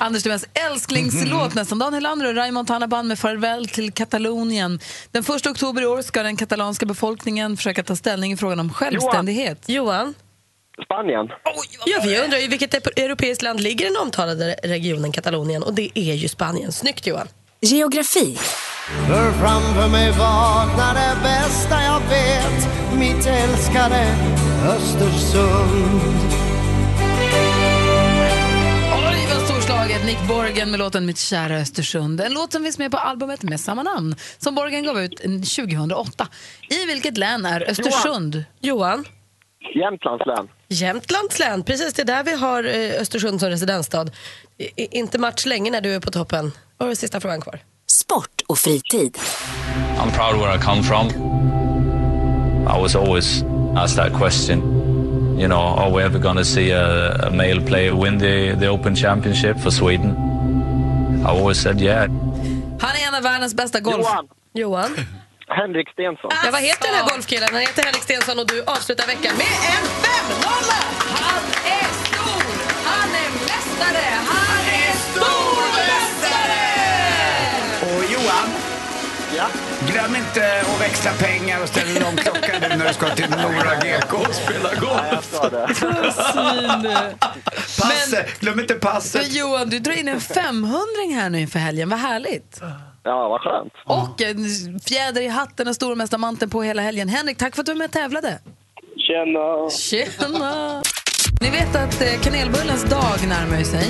S2: Anders Timells älsklingslåt nästan. Dan Helander och Raymond Hannaban med Farväl till Katalonien. Den 1 oktober i år ska den katalanska befolkningen försöka ta ställning i frågan om självständighet. Johan?
S14: Spanien.
S2: Ja, vi undrar ju vilket ep- europeiskt land ligger i den omtalade regionen Katalonien och det är ju Spanien. Snyggt Johan.
S15: Geografi.
S7: För framför mig vaknar det bästa jag vet Mitt älskade Östersund
S2: Oj, vad storslaget! Nick Borgen med låten Mitt kära Östersund. En låt som finns med på albumet med samma namn som Borgen gav ut 2008. I vilket län är Östersund? Johan?
S14: Jämtlands län.
S2: Jämtlands län. Precis, det är där vi har eh, Östersund som residensstad. I- i- Inte match länge när du är på toppen. Och det är sista frågan kvar.
S15: Sport och fritid.
S17: I'm proud of where I come from. I was always asked that question. You know, are we ever going to see a, a male player win the, the Open Championship for Sweden? I always said, yeah.
S2: Han är en av världens bästa golf... Johan. Johan.
S14: Henrik Stensson.
S2: Ja, vad heter den här golfkillen? Han heter Henrik Stensson och du avslutar veckan med en 5-0! Han är stor! Han är mästare! Han är stormästare!
S3: Och Johan, glöm inte att växla pengar och ställa lång klocka nu när du ska till Nora GK och spela golf. Passet, glöm inte
S2: Men
S3: passet.
S2: Johan, du drar in en 500 här nu inför helgen. Vad härligt!
S14: Ja, vad skönt.
S2: Och en fjäder i hatten och stormästarmanteln på hela helgen. Henrik, tack för att du var med och tävlade.
S14: Tjena.
S2: Tjena! Ni vet att eh, kanelbullens dag närmar ju sig.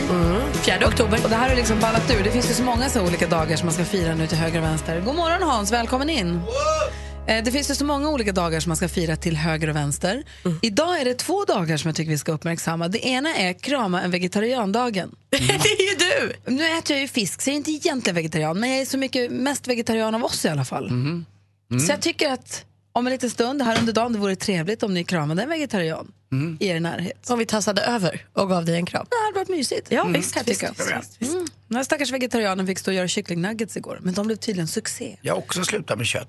S2: 4 oktober. Och det här är liksom ballat ur. Det finns ju så många så olika dagar som man ska fira nu till höger och vänster. God morgon Hans, välkommen in. Eh, Det finns ju så många olika dagar som man ska fira till höger och vänster. Idag är det två dagar som jag tycker vi ska uppmärksamma. Det ena är krama en vegetariandagen. det är ju du! Nu äter jag ju fisk, så jag är inte egentligen vegetarian. Men jag är så mycket mest vegetarian av oss i alla fall. Så jag tycker att om en liten stund här under dagen, det vore trevligt om ni kramade en vegetarian i er närhet. Om vi tassade över och gav dig en kram. Det hade varit mysigt. Ja,
S4: Mm.
S2: visst,
S4: Kan jag
S2: visst,
S4: tycka.
S2: visst, visst, visst. Mm. Den här stackars vegetarianen fick stå och göra kycklingnuggets igår, men de blev tydligen succé.
S3: Jag har också slutat med kött.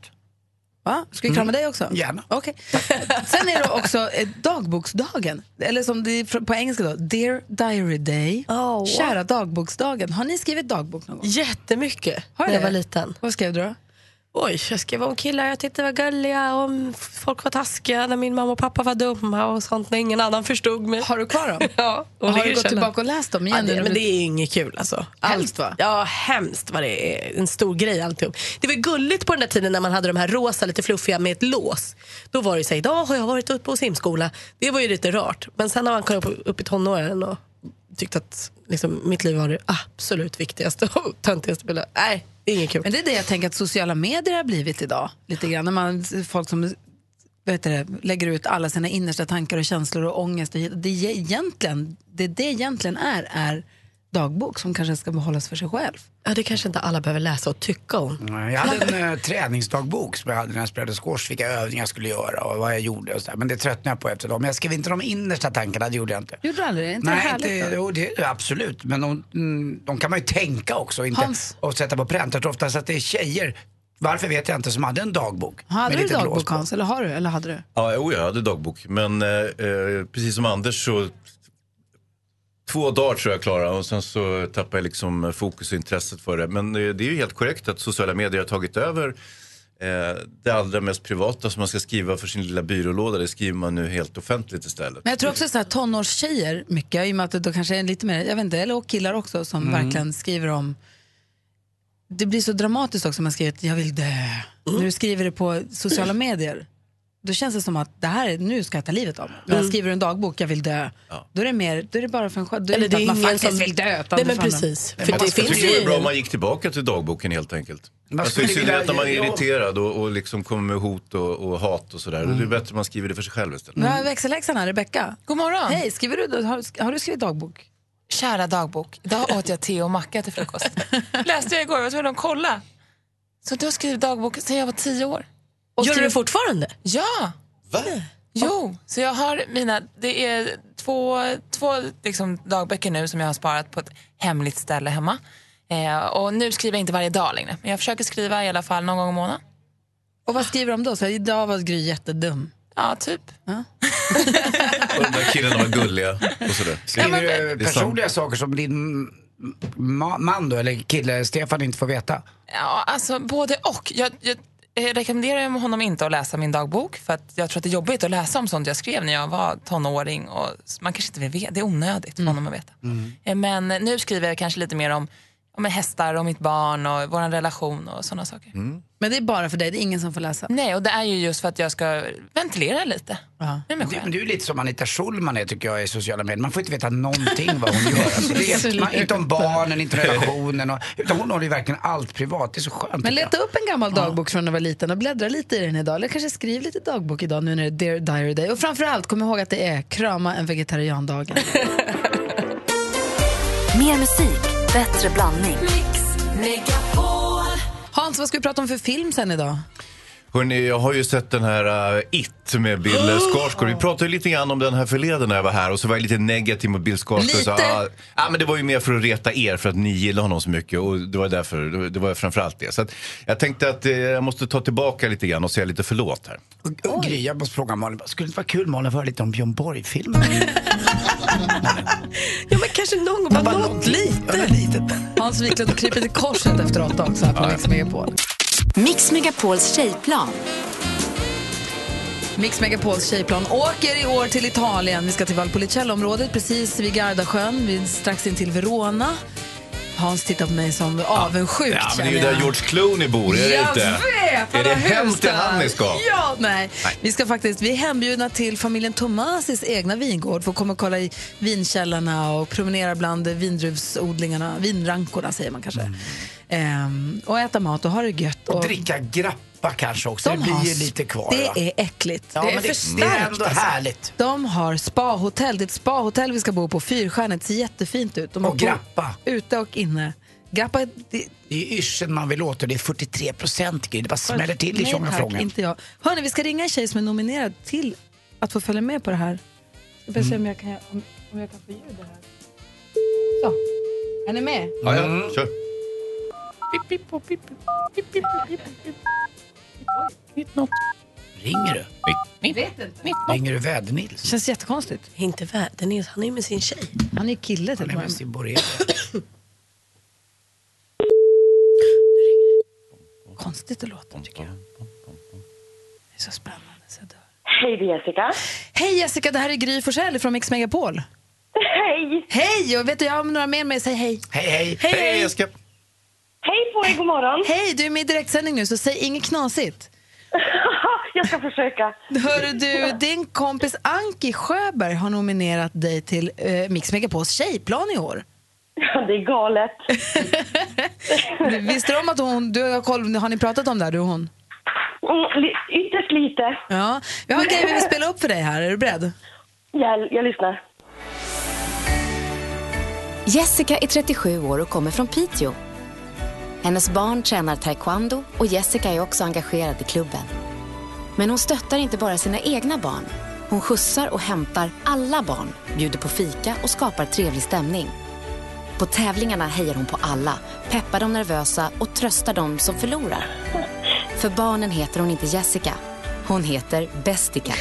S2: Va? Ska vi krama
S3: Mm.
S2: dig också?
S3: Gärna.
S2: Okej. Sen är det också eh, dagboksdagen, eller som det är fr- på engelska då, Dear Diary Day.
S4: Oh,
S2: Kära dagboksdagen. Har ni skrivit dagbok någon gång?
S4: Jättemycket
S2: Har
S4: när
S2: ni
S4: jag var
S2: det? liten. Vad skrev du då?
S4: Oj, jag skrev om killar jag tyckte var gulliga, om folk var taskiga när min mamma och pappa var dumma och sånt när ingen annan förstod mig.
S2: Har du kvar dem?
S4: ja.
S2: Och har du gått tillbaka och läst dem igen?
S4: Ja, det,
S2: nu?
S4: men det är inget kul alltså.
S2: Hemskt, va?
S4: Ja, hemskt vad det är. En stor grej alltihop. Det var gulligt på den där tiden när man hade de här rosa, lite fluffiga med ett lås. Då var det ju så här, idag har jag varit uppe på simskola. Det var ju lite rart. Men sen när man kom upp, upp i tonåren och tyckte att liksom, mitt liv var det absolut viktigaste och töntigaste. bilden. Nej, det är inget kul.
S2: Men det är det jag tänker att sociala medier har blivit idag. Lite grann när man folk som vet du det, lägger ut alla sina innersta tankar och känslor och ångest. och hit- Det, är egentligen, det det egentligen är, är dagbok som kanske ska behållas för sig själv.
S4: Ja, det kanske inte alla behöver läsa och tycka om.
S3: Nej, Jag hade en eh, träningsdagbok som jag hade när jag spelade squash, vilka övningar jag skulle göra och vad jag gjorde och sådär. Men det tröttnade jag på efter dem. Men jag skrev inte de innersta tankarna, det gjorde jag inte.
S2: Gjorde du aldrig det? inte det
S3: Nej,
S2: härligt?
S3: inte,
S2: då?
S3: jo, det, absolut. Men de, mm, de kan man ju tänka också inte,
S2: Hans.
S3: och sätta på pränt. Jag tror oftast att det är tjejer, varför vet jag inte, som hade en dagbok.
S2: Hade
S3: med
S2: du
S3: lite lås
S2: dagbok
S3: på.
S2: Hans? Eller har du? Eller hade du?
S18: Ja, jo, jag hade dagbok. Men eh, eh, precis som Anders så... Två dagar tror jag klara och sen så tappade jag liksom fokus och intresset för det. Men eh, det är ju helt korrekt att sociala medier har tagit över eh, det allra mest privata som man ska skriva för sin lilla byrålåda, det skriver man nu helt offentligt istället.
S2: Men jag tror också så här, tonårstjejer mycket, i och med att det då kanske är lite mer, jag vet inte, eller och killar också som
S18: Mm.
S2: verkligen skriver om det blir så dramatiskt också om man skriver att jag vill dö.
S4: Mm.
S2: När du skriver det på sociala medier, då känns det som att det här är, nu ska jag ta livet av mig. När jag
S4: Mm.
S2: skriver du en dagbok, jag vill dö, då är det mer, då är det bara för en själv. Då är
S4: Eller
S2: det
S4: det
S2: inte
S4: är
S2: att man
S4: ingen
S2: faktiskt
S4: som-
S2: vill dö. utan
S4: Nej,
S2: det
S4: men
S2: är fan-
S4: precis.
S18: Nej, man- jag tycker det är bra om man gick tillbaka till dagboken helt enkelt.
S3: Man
S18: Alltså, I
S3: skulle vilja-
S18: synnerhet när man är
S3: ja.
S18: irriterad och, och liksom kommer med hot och, och hat och sådär.
S2: Mm.
S18: Det är bättre om man skriver det för sig själv istället.
S2: Nu har jag växelläxan här, Rebecka. God morgon. Hej, skriver du, har, har du skrivit dagbok?
S19: Kära dagbok, idag åt jag te och macka till frukost. Läste jag igår, jag var tvungen att kolla. Så du har skrivit dagbok sedan jag var tio år.
S4: Gör du det
S19: fortfarande? Ja. Va? Jo, så jag har mina, det är två, två liksom dagböcker nu som jag har sparat på ett hemligt ställe hemma. Eh, och nu skriver jag inte varje dag längre, men jag försöker skriva i alla fall någon gång i månaden.
S2: Och vad skriver de då? Så här, idag var Gry jättedum.
S19: Ja, typ.
S18: Och de där killarna var gulliga och sådär.
S3: Skriver du
S2: eh,
S18: Det är sant.
S3: eh, personliga saker som din ma- man då, eller kille Stefan inte får veta?
S19: Ja, alltså både och. Jag, jag eh, rekommenderar ju honom inte att läsa min dagbok för att jag tror att det är jobbigt att läsa om sånt jag skrev när jag var tonåring. Och s- man kanske inte vill veta, det är onödigt för honom att veta.
S2: Mm.
S19: Eh, Men eh, nu skriver jag kanske lite mer om, om hästar och mitt barn och vår relation och sådana saker.
S18: Mm.
S2: Men det är bara för dig, det är ingen som får läsa.
S19: Nej, och det är ju just för att jag ska ventilera lite.
S3: Det, men det är ju lite som Anita Schulman är tycker jag i sociala medier. Man får inte veta någonting vad hon gör. Alltså, det är, man, inte om barnen, inte om relationen. Och, utan hon håller ju verkligen allt privat. Det är så skönt.
S2: Men
S3: tycker jag.
S2: leta upp en gammal dagbok från när du var liten och bläddra lite i den idag. Eller kanske skriv lite dagbok idag nu när det är Dear Diary Day. Och framförallt, kom ihåg att det är krama en vegetariandagen.
S5: Mer musik, bättre blandning.
S2: Hans, vad ska vi prata om för film sen idag?
S18: Hörrni, jag har ju sett den här eh, It med Bill
S2: Ah!
S18: Skarsgård. Vi pratade ju lite grann om den här förleden när jag var här och så var jag lite negativ mot Bill Skarsgård. Så,
S2: Lite?
S18: ah, ah, men det var ju mer för att reta er för att ni gillar honom så mycket och det var därför, det- det var framförallt det. Så att jag tänkte att eh, jag måste ta tillbaka lite grann och säga lite förlåt här.
S3: Och, och Gry, jag måste fråga Malin. Skulle det inte vara kul Malin att få höra lite om Björn Borg-filmen?
S4: Ja, men kanske någon gång, bara något lite.
S2: Hans Wiklund kryper till korset efter åtta också. Att man liksom är på.
S12: Mix Megapols tjejplan.
S2: Mix Megapols tjejplan åker i år till Italien. Vi ska till Valpolicellområdet, precis vid Gardasjön, vid, strax intill Verona. Hans tittar på mig som avundsjuk.
S18: Ja, men det är ju
S2: känner jag.
S18: där George Clooney bor, är det
S2: jag
S18: inte?
S2: vet!
S18: Är
S2: han
S18: det
S2: har
S18: hem
S2: hus
S18: till
S2: där.
S18: han ni ska?
S2: Ja, nej. Vi ska faktiskt, vi är hembjudna till familjen Tomasis egna vingård för att komma och kolla i vinkällorna och promenera bland vindruvsodlingarna, vinrankorna säger man kanske.
S18: Mm.
S2: Ehm, och äta mat och ha det gött.
S3: Och dricka grappa kanske också. det blir ju lite kvar.
S2: Det
S3: va?
S2: är äckligt.
S3: Ja, men det- det är ändå härligt.
S2: De har spahotell. Det är ett spahotell vi ska bo på. Fyrstjärnigt. ser jättefint ut. De har
S3: Och
S2: bo-
S3: grappa.
S2: Ute och inne. Grappa... Det,
S3: Det är yrseln man vill åt och det är 43 procent Gry. Det bara smäller till i
S2: Nej tack,
S3: tjongafrågan.
S2: inte jag. Hörni, vi ska ringa en tjej som är nominerad till att få följa med på det här. Ska bara se
S3: Mm.
S2: om jag kan, om, om jag kan få ljud här. Så. Är ni med?
S18: Ja,
S3: Mm.
S18: ja,
S2: Mm.
S18: kör.
S3: Ringer du?
S2: Jag vet inte.
S3: Ringer du Väder-Nils?
S2: Känns jättekonstigt.
S4: Inte väder, han är ju med sin tjej.
S2: Han är kille till
S3: och med. sin borrelia.
S2: Konstigt det låter tycker jag. Det är så spännande så jag dör.
S7: Hej, det är Jessica.
S2: Hej Jessica, det här är Gry Forssell från Mix Megapol.
S7: Hej!
S2: Hej! Och vet du, jag har några med mig. Säg hej.
S3: Hej, hej.
S2: Hej, hej.
S18: Jessica.
S7: Hej på er, god morgon.
S2: Hej, du är med i direktsändning nu så säg inget knasigt.
S7: jag ska försöka.
S2: Hörru du, din kompis Anki Sjöberg har nominerat dig till eh, Mix Megapols tjejplan i år.
S7: Ja, det är galet.
S2: Visste du om att hon, du har koll, har ni pratat om det här du och hon?
S7: Mm, li- ytterst lite.
S2: Ja, vi har en grej vi vill spela upp för dig här, är du beredd?
S7: Jag, jag lyssnar.
S12: Jessica är 37 år och kommer från Piteå. Hennes barn tränar taekwondo och Jessica är också engagerad i klubben. Men hon stöttar inte bara sina egna barn. Hon skjutsar och hämtar alla barn, bjuder på fika och skapar trevlig stämning. På tävlingarna hejar hon på alla, peppar de nervösa och tröstar de som förlorar. För barnen heter hon inte Jessica, hon heter Bestica.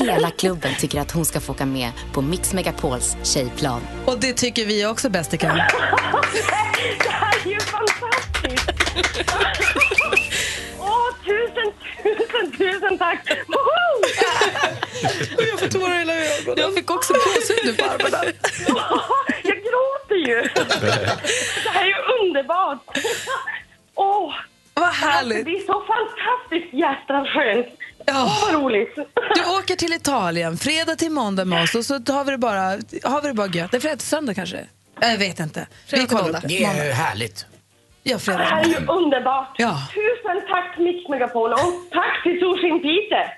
S12: Hela klubben tycker att hon ska få åka med på Mix Megapols tjejplan.
S2: Och det tycker vi också bäst det kan.
S7: Det här är ju fantastiskt! Åh,
S3: på det.
S4: Jag fick också gåshud nu på armarna.
S7: Jag gråter ju. Det här är ju underbart. Åh!
S2: vad härligt.
S7: Det är så fantastiskt jästra skönt.
S2: Ja.
S7: Åh, vad roligt.
S2: Du åker till Italien fredag till måndag med oss och så har vi det bara, har vi det bara gött. Det är fredag till söndag kanske? Jag vet inte.
S3: Vi
S2: Vi kollar upp.
S3: Det är ju
S2: Måndag.
S3: härligt.
S2: Ja,
S7: Det
S2: fredag.
S7: här är ju underbart.
S2: Ja.
S7: Tusen tack Mix Megapol och tack till Torsin Peter.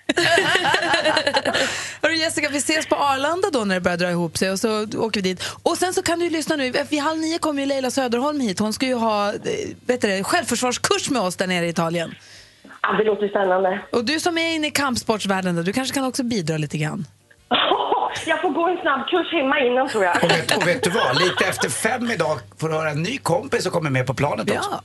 S2: Hörru Jessica, vi ses på Arlanda då när det börjar dra ihop sig och så åker vi dit. Och sen så kan du ju lyssna nu, vid halv nio kommer ju Leila Söderholm hit. Hon ska ju ha eh, vet du det, självförsvarskurs med oss där nere i Italien.
S7: Ja, Ah, det låter spännande.
S2: Och du som är inne i kampsportsvärlden, då, du kanske kan också bidra lite grann.
S7: Jag får gå en snabb kurs hemma innan tror jag.
S3: Och vet, och vet du vad? Lite efter fem idag får du höra en ny kompis som kommer med på planet också.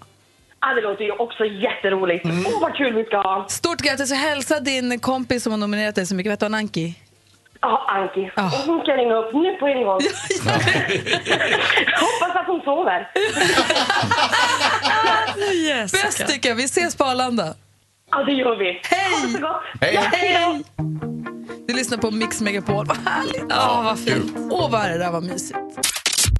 S7: Ja, det låter ju också jätteroligt.
S2: Mm.
S7: Åh, vad kul vi ska ha.
S2: Stort grattis och hälsa din kompis som har nominerat dig så mycket. Vet du, Anki?
S7: Ja, Anki.
S2: Ah.
S7: Och hon ska ringa upp nu på en gång. Hoppas att hon sover.
S2: Bäst tycker jag. Vi ses på Arlanda.
S7: Ja, det gör vi.
S2: Hej! Ha det så
S7: gott.
S2: Hej! Du lyssnar på Mix Megapol. Vad härligt! Ja, vad fint. Åh, vad det där var mysigt.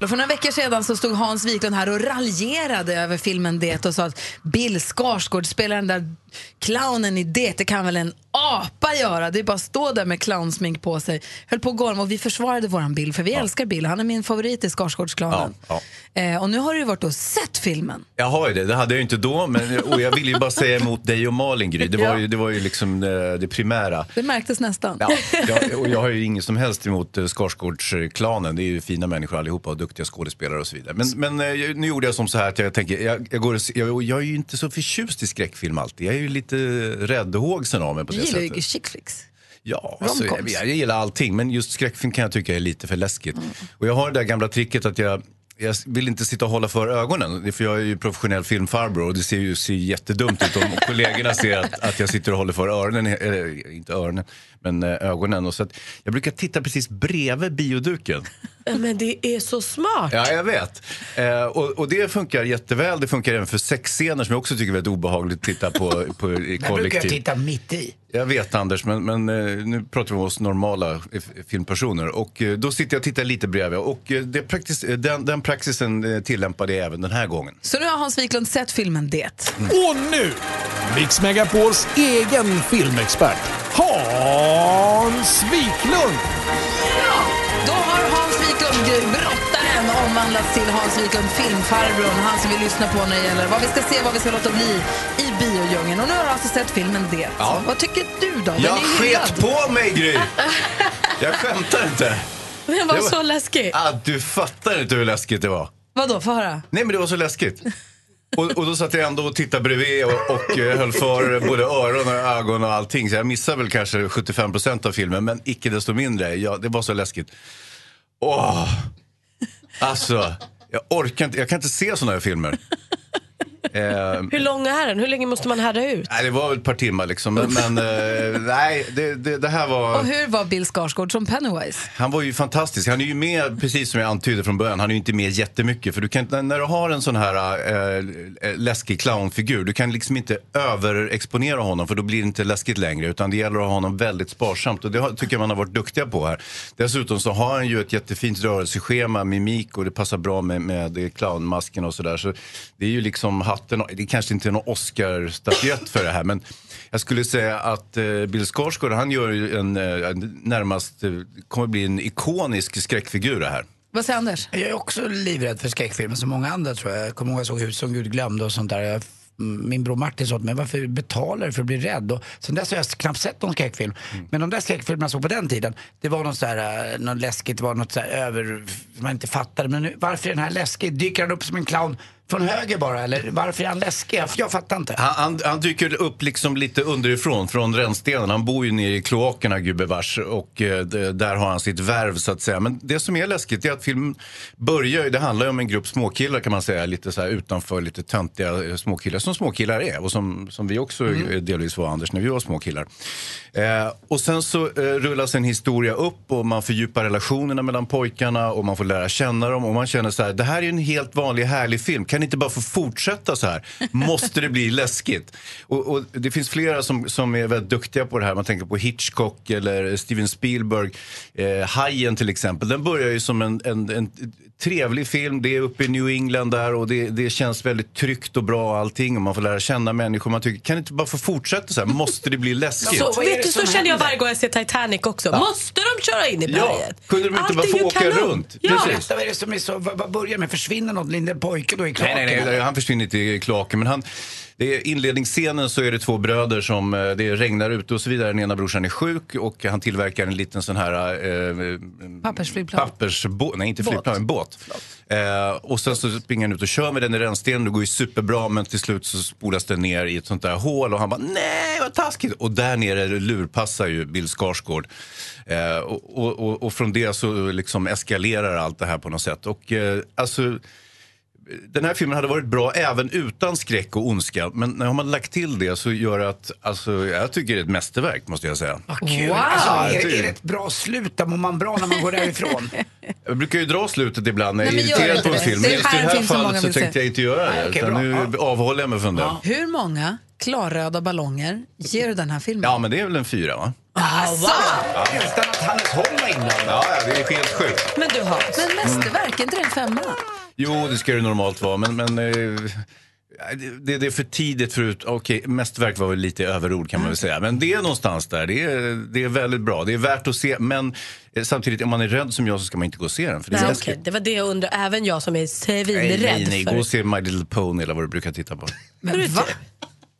S2: Och För några veckor sedan så stod Hans Wiklund här och raljerade över filmen Det och sa att Bill Skarsgård spelar den där clownen i Det. Det kan väl en apa göra? Det är bara att stå där med clownsmink på sig. Höll på att gorma och vi försvarade våran Bill för vi älskar Bill. Han är min favorit i Skarsgårdsclownen.
S18: Ja.
S2: Eh, och nu har du ju varit och sett filmen.
S18: Jag har ju det, det hade jag ju inte då. Men, och jag ville ju bara säga emot dig och Malin Gry. Det var ju, det var ju liksom eh, det primära.
S2: Det märktes nästan.
S18: Ja, jag, och jag har ju inget som helst emot eh, Skarsgårdsklanen. Det är ju fina människor allihopa och duktiga skådespelare och så vidare. Men, men eh, nu gjorde jag som så här att jag tänker, jag, jag, går och, se- jag, jag är ju inte så förtjust i skräckfilm alltid. Jag är ju lite räddhågsen av mig på
S2: Du
S18: det
S2: gillar
S18: sättet.
S2: ju chick flicks.
S18: Ja, alltså, jag,
S2: Romcoms.
S18: jag gillar allting, men just skräckfilm kan jag tycka är lite för läskigt.
S3: Mm.
S18: Och jag har det där gamla tricket att jag, jag vill inte sitta och hålla för ögonen. Det är För jag är ju professionell filmfarbror och det ser ju ser ju jättedumt ut om kollegorna ser att, att jag sitter och håller för öronen, eh, inte öronen, men eh, ögonen. Och så att jag brukar titta precis bredvid bioduken.
S4: Men det är så smart.
S18: Ja, jag vet. Eh, och, och det funkar jätteväl. Det funkar även för sexscener som jag också tycker är väldigt obehagligt att titta på, på i
S3: Den brukar jag
S8: kollektiv.
S3: titta mitt i.
S18: jag vet Anders, men, men eh, nu pratar vi om oss normala eh, f- filmpersoner. Och eh, då sitter jag och tittar lite bredvid. Och eh, det praktis- eh, den, den praxisen eh, tillämpade jag även den här gången.
S2: Så nu har Hans Wiklund sett filmen Det.
S20: Mm. Och nu, Mix Megapols egen filmexpert, Hans Wiklund!
S2: Då har Hans Wiklund, brottaren, omvandlats till Hans Wiklund, filmfarbrorn. Han som vi lyssnar på när det gäller vad vi ska se, vad vi ska låta bli i biodjungeln. Och nu har du alltså sett filmen Det.
S18: Ja.
S2: Vad tycker du då? Den
S18: jag
S2: är hyllad.
S18: sket på mig Gry! Jag skämtar inte.
S4: Den var så läskig.
S18: Ah, du fattar inte hur läskigt det var.
S2: Vadå, få höra.
S18: Nej men det var så läskigt. Och, och då satt jag ändå och tittade bredvid och, och eh, höll för både öron och ögon och allting. Så jag missade väl kanske 75 procent av filmen, men icke desto mindre. Ja, det var så läskigt. Åh! Alltså, jag orkar inte. Jag kan inte se såna här filmer. Eh,
S4: Hur lång är den? Hur länge måste man härda ut?
S18: nej, det var väl ett par timmar liksom. Men, men eh, nej, det, det, det här var...
S2: Och hur var Bill Skarsgård som Pennywise?
S18: Han var ju fantastisk. Han är ju med, precis som jag antydde från början, han är ju inte med jättemycket. För du kan, inte- när du har en sån här äh, läskig clownfigur, du kan liksom inte överexponera honom för då blir det inte läskigt längre. Utan det gäller att ha honom väldigt sparsamt och det har, tycker jag man har varit duktiga på här. Dessutom så har han ju ett jättefint rörelseschema, mimik och det passar bra med, med clownmasken och sådär. Så det är ju liksom hatten, och- det kanske inte är någon Oscar-statyett för det här men jag skulle säga att eh, Bill Skarsgård, han gör ju en, eh, en närmast, eh, kommer bli en ikonisk skräckfigur det här.
S2: Vad säger Anders?
S3: Jag är också livrädd för skräckfilmer som många andra tror jag. Jag kommer ihåg jag såg Hus som Gud glömde och sånt där. Jag- mm, Min bror Martin sa åt mig, varför betalar du för att bli rädd? Och sen dess har jag knappt sett någon skräckfilm.
S18: Mm.
S3: Men de där skräckfilmerna jag såg på den tiden, det var något, så här, eh, något läskigt, det var något så här över, som man inte fattade. Men nu, varför är den här läskig? Dyker han upp som en clown från höger bara? Eller varför är han läskig? Jag, jag fattar inte.
S18: Han, han, han dyker upp liksom lite underifrån, från rännstenen. Han bor ju nere i kloakerna gubevars och eh, d- där har han sitt värv så att säga. Men det som är läskigt är att filmen börjar ju, det handlar ju om en grupp småkillar kan man säga, lite så här utanför, lite töntiga eh, småkillar som småkillar är och som, som vi också eh, delvis var Anders när vi var småkillar. Eh, och sen så eh, rullas en historia upp och man fördjupar relationerna mellan pojkarna och man får lära känna dem och man känner så här, det här är ju en helt vanlig härlig film. Kan kan inte bara få fortsätta så här? Måste det bli läskigt? Och, och det finns flera som, som är väldigt duktiga på det här. Man tänker på Hitchcock eller Steven Spielberg. Eh, Hajen till exempel. Den börjar ju som en, en, en trevlig film. Det är uppe i New England där och det, det känns väldigt tryggt och bra allting. Och man får lära känna människor. Man tycker, kan det inte bara få fortsätta så här? Måste det bli läskigt?
S4: Så, vet du, så känner jag varje gång jag ser Titanic också.
S18: Ja.
S4: Måste de köra in i
S18: Ja,
S4: berget?
S18: kunde de inte bara
S4: Allt är
S18: få
S4: ju
S18: åka
S4: kanon.
S18: runt?
S3: Ja.
S18: Precis.
S3: Nästa, vad är det som är så, vad, vad börjar med? Försvinner någon liten pojke då i klaken?
S18: Nej, nej, nej, han försvinner inte i klaken. Men han, det är inledningsscenen så är det två bröder som, eh, det regnar ute och så vidare. Den ena brorsan är sjuk och han tillverkar en liten sån här eh,
S2: Pappersflygplan.
S18: Pappersbåt, nej inte
S2: Båt.
S18: flygplan, en båt. Eh, och sen så springer han ut och kör med den i rännstenen, det går ju superbra men till slut så spolas den ner i ett sånt där hål och han bara nej vad taskigt. Och där nere lurpassar ju Bill Skarsgård. Eh, och, och, och, och från det så liksom eskalerar allt det här på något sätt. Och eh, alltså den här filmen hade varit bra även utan skräck och ondska. Men när man lagt till det så gör det att, alltså, jag tycker det är ett mästerverk måste jag säga.
S3: Kul. Alltså, är,
S18: Typ.
S3: det- är det ett bra slut? Då mår man bra när man går därifrån.
S18: Jag brukar ju dra slutet ibland när jag
S2: Nej,
S18: är
S2: men gör
S18: irriterad
S2: inte
S18: på en
S2: det.
S18: film.
S2: Det
S18: Men
S2: är
S18: just i det
S2: här en
S18: här
S2: film som många
S18: fallet så
S2: vill
S18: tänkte
S2: se.
S18: jag inte göra
S2: Nej,
S18: det.
S2: okej,
S18: utan
S2: bra.
S18: nu avhåller jag mig från det.
S2: Hur många klarröda ballonger ger du den här filmen?
S18: Ja, men det är väl en fyra va?
S2: Alltså!
S18: Ja.
S3: Utan att Hannes Holm var inblandad.
S18: Ja, ja, det är helt sjukt.
S2: Men du Hans. Men mästerverk, är inte det en femma?
S18: Jo, det ska det normalt vara, men... men eh, det, det är för tidigt förut. Okej, mästerverk var väl lite överord kan man väl säga. Men det är någonstans där. Det är, det är väldigt bra. Det är värt att se. Men eh, samtidigt, om man är rädd som jag så ska man inte gå och se den. För det är
S4: Nej,
S18: läskigt.
S4: okej. Det var det jag undrar. Även jag som är
S18: Nej, nej,
S4: svinrädd
S18: nej.
S4: för...
S18: Gå och se My Little Pony eller vad du brukar titta på.
S2: Men va?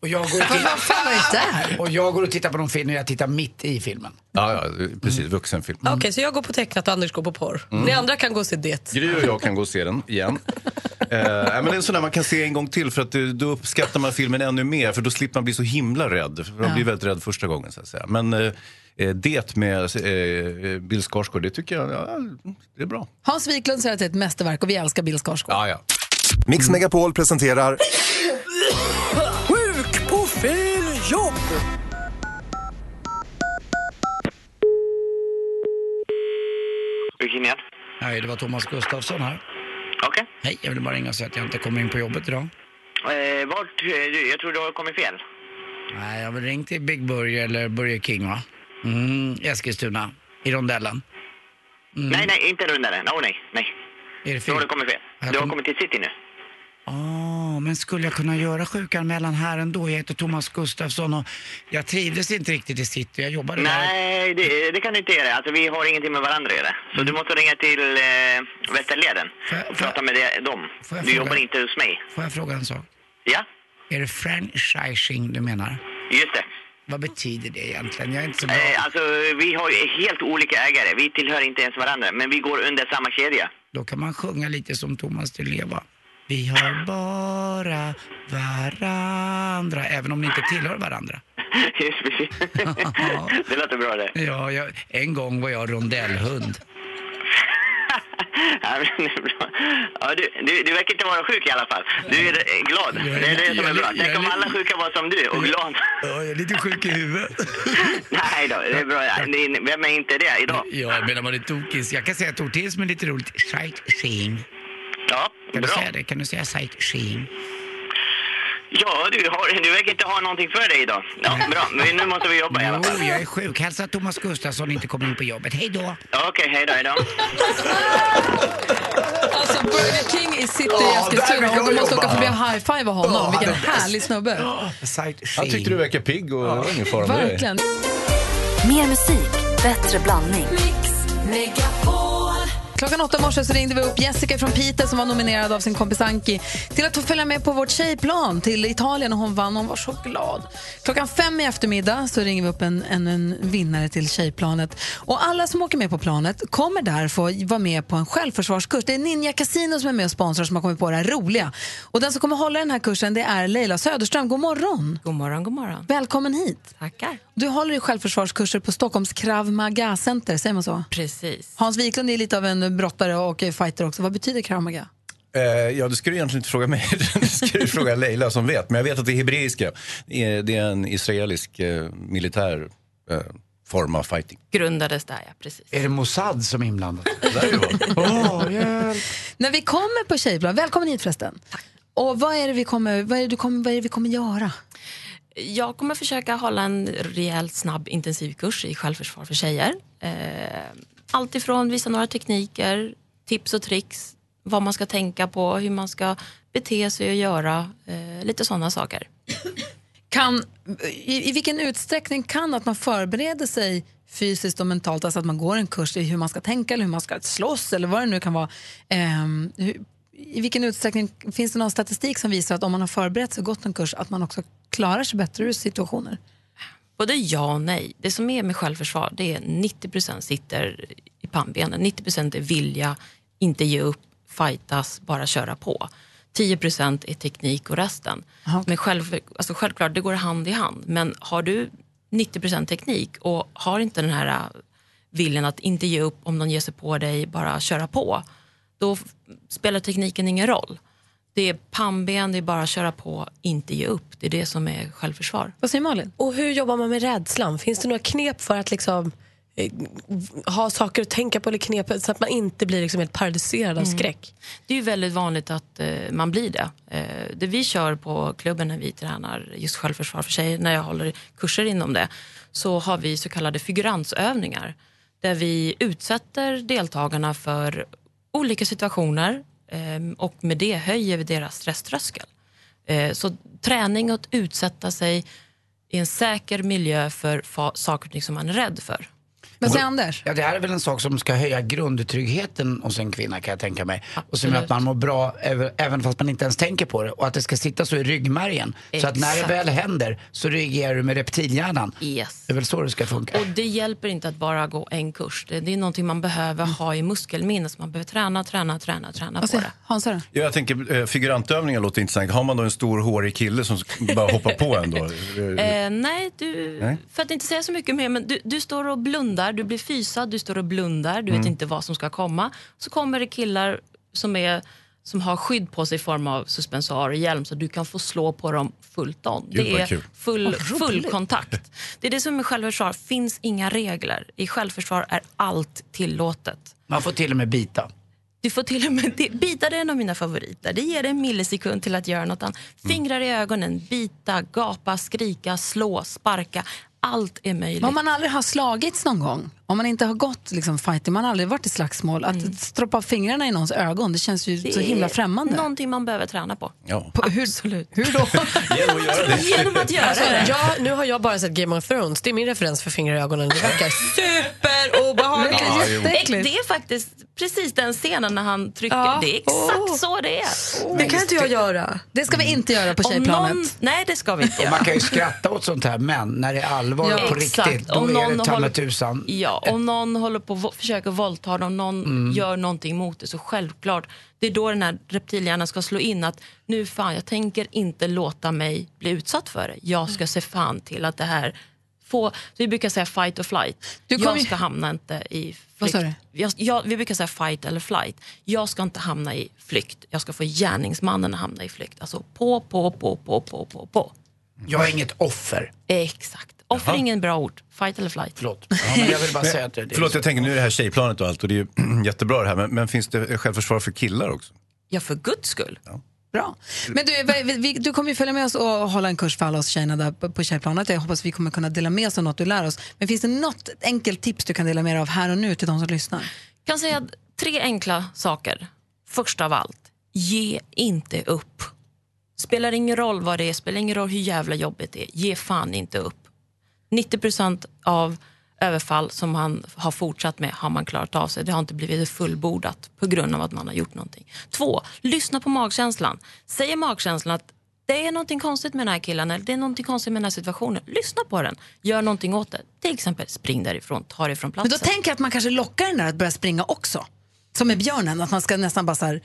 S3: Och jag går och
S2: Vad fan var det där?
S3: Och jag går och tittar på någon film och jag tittar mitt i filmen. Mm.
S18: Ja, ja precis. Vuxenfilm.
S4: Okej, så jag går på tecknat och Anders går på porr.
S18: Mm.
S4: Ni andra kan gå och se det.
S18: Gry och jag kan gå och se den igen. Eh, nej, men det är en sån där man kan se en gång till för att eh, då uppskattar man filmen ännu mer för då slipper man bli så himla rädd. För man
S2: Ja.
S18: blir väldigt rädd första gången så att säga. Men eh, eh, det med eh, Bill Skarsgård, det tycker jag ja, det är bra.
S2: Hans Wiklund säger att det är ett mästerverk och vi älskar Bill Skarsgård.
S18: Ja, ja.
S10: Mix Megapol presenterar
S2: Sjuk på fel jobb!
S1: Vilken igen?
S3: Nej, det var Thomas Gustafsson här.
S1: Okej.
S3: Hej, jag ville bara ringa och säga att jag inte kommer in på jobbet idag.
S1: Eh, vart? eh, Du, jag tror du har kommit fel.
S3: Nej, jag vill ringa till Big Burger eller Burger King va? Mm, Eskilstuna. I rondellen. Mm.
S1: Nej, nej, inte rundare. Åh nej, nej.
S3: Är det
S1: Nu
S3: fel?
S1: har du kommit fel.
S3: Jag
S1: Du har
S3: kom-
S1: kommit till city nu.
S3: Ah, men skulle jag kunna göra sjukanmälan här ändå? Jag heter Thomas Gustafsson och jag trivdes inte riktigt i city. Jag jobbade där.
S1: Nej, det, det kan du inte göra. Alltså, vi har ingenting med varandra att göra.
S3: Mm.
S1: Så du måste ringa till eh, Västerleden och prata med det, dem.
S3: får jag
S1: Du
S3: fråga-
S1: jobbar inte hos mig.
S3: Får jag fråga en sak?
S1: Ja,
S3: Är det franchising du menar?
S1: just det.
S3: Vad betyder det egentligen? Jag är inte så bra.
S1: Eh, alltså, vi har ju helt olika ägare. Vi tillhör inte ens varandra, men vi går under samma kedja.
S3: Då kan man sjunga lite som Thomas Di Leva. Vi har bara varandra, även om ni inte tillhör varandra.
S1: Just precis. det låter bra det.
S3: Ja, jag, en gång var jag rondellhund.
S1: Ja, men det är bra. Ja, du, du, du verkar inte vara sjuk i alla fall. Du är eh, glad. Det är det som är bra. Tänk om alla sjuka var som du och glad.
S3: Ja, jag är lite sjuk i huvudet.
S1: Nej då, det är bra. Det är- Vem är inte det idag?
S3: Ja, men om man är tokis. Jag kan säga ett ord till som är lite roligt. Sightseeing.
S1: Ja,
S3: Kan du
S1: bra.
S3: säga det? Kan du säga sightseeing?
S1: Ja, du, har, du verkar inte ha någonting för dig idag. Ja, bra. Men nu måste vi jobba i alla
S3: Jo,
S1: fall.
S3: jag är sjuk. Hälsa att Thomas Gustafsson inte kommer in på jobbet. Hej då!
S1: Ja, Okej, hej då, hej då.
S2: Alltså Burger King i city
S1: Ja,
S2: i
S1: där vill
S2: Eskilstuna
S1: jag
S2: och du måste
S1: jobba.
S2: åka förbi och high-fiva honom.
S1: Ja,
S2: Vilken
S1: det-
S2: härlig snubbe.
S3: Sightseeing.
S18: Han tyckte du verkar pigg och det var ingen fara med dig.
S2: Verkligen.
S5: Mer musik, bättre blandning.
S2: Klockan åtta i morse så ringde vi upp Jessica från Piteå som var nominerad av sin kompis Anki till att få följa med på vårt tjejplan till Italien och hon vann och hon var så glad. Klockan fem i eftermiddag så ringer vi upp en, en, en vinnare till tjejplanet och alla som åker med på planet kommer där få vara med på en självförsvarskurs. Det är Ninja Casino som är med och sponsrar som har kommit på det här roliga. Och den som kommer hålla den här kursen det är Leila Söderström. God morgon!
S21: God morgon, god morgon.
S2: Välkommen hit!
S21: Tackar.
S2: Du håller i självförsvarskurser på Stockholms Krav Maga Center, säger man så?
S21: Precis.
S2: Hans Wiklund är lite av en brottare och eh, fighter också. Vad betyder Krav Maga?
S18: Eh, ja, det ska du egentligen inte fråga mig. det ska du fråga Leila som vet. Men jag vet att det är hebreiska. Det är det är en israelisk eh, militär eh, form av fighting.
S21: Grundades där, ja. Precis.
S3: Är det Mossad som är inblandad?
S2: När vi kommer på tjejplan, välkommen hit förresten. Och vad är det vi kommer, vad är det du kommer, vad är det vi kommer göra?
S21: Jag kommer försöka hålla en rejält snabb intensivkurs i självförsvar för tjejer. Eh, allt ifrån visa några tekniker, tips och tricks, vad man ska tänka på, hur man ska bete sig och göra, eh, lite sådana saker.
S2: Kan, i, I vilken utsträckning kan att man förbereder sig fysiskt och mentalt, alltså att man går en kurs i hur man ska tänka eller hur man ska slåss eller vad det nu kan vara. ehm, hur, I vilken utsträckning finns det någon statistik som visar att om man har förberett sig och gått en kurs att man också klarar sig bättre ur situationer?
S21: Både ja och nej. Det som är med självförsvar det är 90 sitter i pannbenen. 90 är vilja, inte ge upp, fightas, bara köra på. 10 är teknik och resten. Men själv, alltså självklart, det går hand i hand. Men har du 90 teknik och har inte den här äh, viljan att inte ge upp om någon ger sig på dig, bara köra på, då f- spelar tekniken ingen roll. Det är pannben, det är bara köra på, inte ge upp. Det är det som är självförsvar.
S2: Vad säger Malin?
S4: Och hur jobbar man med rädslan? Finns det några knep för att liksom eh, ha saker att tänka på eller knep så att man inte blir liksom helt paralyserad av
S21: Mm.
S4: skräck.
S21: Det är ju väldigt vanligt att eh, man blir det. Eh, det vi kör på klubben när vi tränar just självförsvar för sig, när jag håller kurser inom det, så har vi så kallade figuransövningar där vi utsätter deltagarna för olika situationer eh, och med det höjer vi deras stresströskel. Eh, så träning att utsätta sig i en säker miljö för fa- saker och ting som man är rädd för.
S2: Vad säger Anders?
S3: Ja, det här är väl en sak som ska höja grundtryggheten hos en kvinna kan jag tänka mig. Och som gör att man mår bra även- även fast man inte ens tänker på det. Och att det ska sitta så i ryggmärgen. Så att när det
S21: Exakt.
S3: väl händer så reagerar du med reptilhjärnan.
S21: Yes.
S3: Det är väl så det ska funka.
S21: Och det hjälper inte att bara gå en kurs. Det, det är någonting man behöver
S9: Mm.
S21: ha i muskelminnet. så Man behöver träna, träna, träna, träna på det.
S2: Hansa då?
S18: Ja, jag tänker eh, figurantövningar låter intressant. Har man då en stor hårig kille som bara hoppar på en då? Eh,
S21: Eh, nej, du,
S18: Nej.
S21: för att inte säga så mycket mer, men du, du står och blundar, du blir fysad, du står och blundar, du vet
S18: Mm.
S21: inte vad som ska komma. Så kommer det killar som, är, som har skydd på sig i form av suspensoar och hjälm så du kan få slå på dem fullt on.
S9: Gud,
S21: det
S9: vad
S21: är
S9: kul.
S21: full,
S9: Vad roligt.
S21: full kontakt. Det är det som är självförsvar, finns inga regler. I självförsvar är allt tillåtet.
S3: Man får till och med bita.
S21: Du får till och med det, bita, det är en av mina favoriter. Det ger dig en millisekund till att göra något annat. Fingrar i ögonen, bita, gapa, skrika, slå, sparka. Allt är möjligt.
S2: Om man aldrig har slagits någon gång, om man inte har gått liksom, fighting, man har aldrig varit i slagsmål, att stroppa fingrarna i någons ögon, det känns ju så
S21: Mm. är
S2: himla främmande.
S21: Någonting man behöver träna på.
S18: Ja.
S2: På, hur, Absolut. Hur då?
S21: Genom att göra
S4: Alltså,
S21: det.
S4: Ja, nu har jag bara sett Game of Thrones. Det är min referens för fingrar i ögonen. Det verkar superobehagligt.
S21: Ja, jo. det, det är faktiskt precis den scenen när han trycker.
S4: Ja.
S21: Det är exakt så det är.
S4: Det kan inte jag göra.
S2: Det ska vi inte göra på
S21: Mm. Om
S2: tjejplanet.
S21: någon- nej, det ska vi inte
S3: Och
S21: göra.
S3: man kan ju skratta åt sånt här, men när det är allvar
S21: Ja,
S3: på
S21: exakt.
S3: riktigt, då
S21: Om
S3: är
S21: någon
S3: det ta
S21: håller-
S3: mig tusan.
S21: Ja, om någon håller på och försöker våldta dig, om någon
S3: Mm.
S21: gör någonting mot dig, så självklart, det är då den här reptilhjärnan ska slå in att nu fan, jag tänker inte låta mig bli utsatt för det. Jag ska se fan till att det här får... Vi brukar säga fight or flight.
S2: Du kommer
S21: jag
S2: ju-
S21: ska hamna inte i
S2: Vad
S21: flykt.
S2: sa du?
S21: Jag, jag, vi brukar säga fight eller flight. Jag ska inte hamna i flykt. Jag ska få gärningsmannen att hamna i flykt. Alltså på, på, på, på, på, på, på.
S3: Jag är inget offer.
S21: Exakt. Offer är ingen bra ord. Fight eller flight.
S3: Förlåt. men jag vill bara säga att det- det är
S18: Förlåt,
S3: så.
S18: jag tänker nu är det här tjejplanet och allt och det är ju jättebra det här. Men, men finns det självförsvar för killar också?
S21: Ja, för guds skull.
S2: Bra.
S21: Mm.
S2: Men du, vad- vi- vi- du kommer ju följa med oss och hålla en kurs för alla oss tjejerna där på- på Tjejplanet. Jag hoppas vi kommer kunna dela med oss av något du lär oss. Men finns det något enkelt tips du kan dela med dig av här och nu till de som lyssnar?
S21: kan säga att tre enkla saker. Först av allt, ge inte upp. Spelar ingen roll vad det är, spelar ingen roll hur jävla jobbigt det är. Ge fan inte upp. 90 av överfall som man har fortsatt med har man klarat av sig. Det har inte blivit fullbordat på grund av att man har gjort någonting. Två, lyssna på magkänslan. Säger magkänslan att det är någonting konstigt med den här killen eller det är någonting konstigt med den här situationen. Lyssna på den. Gör någonting åt det. Till exempel spring därifrån, ta dig från
S2: Men
S21: platsen.
S2: då tänker jag att man kanske lockar den där att börja springa också. Som med björnen, att man ska nästan bara så här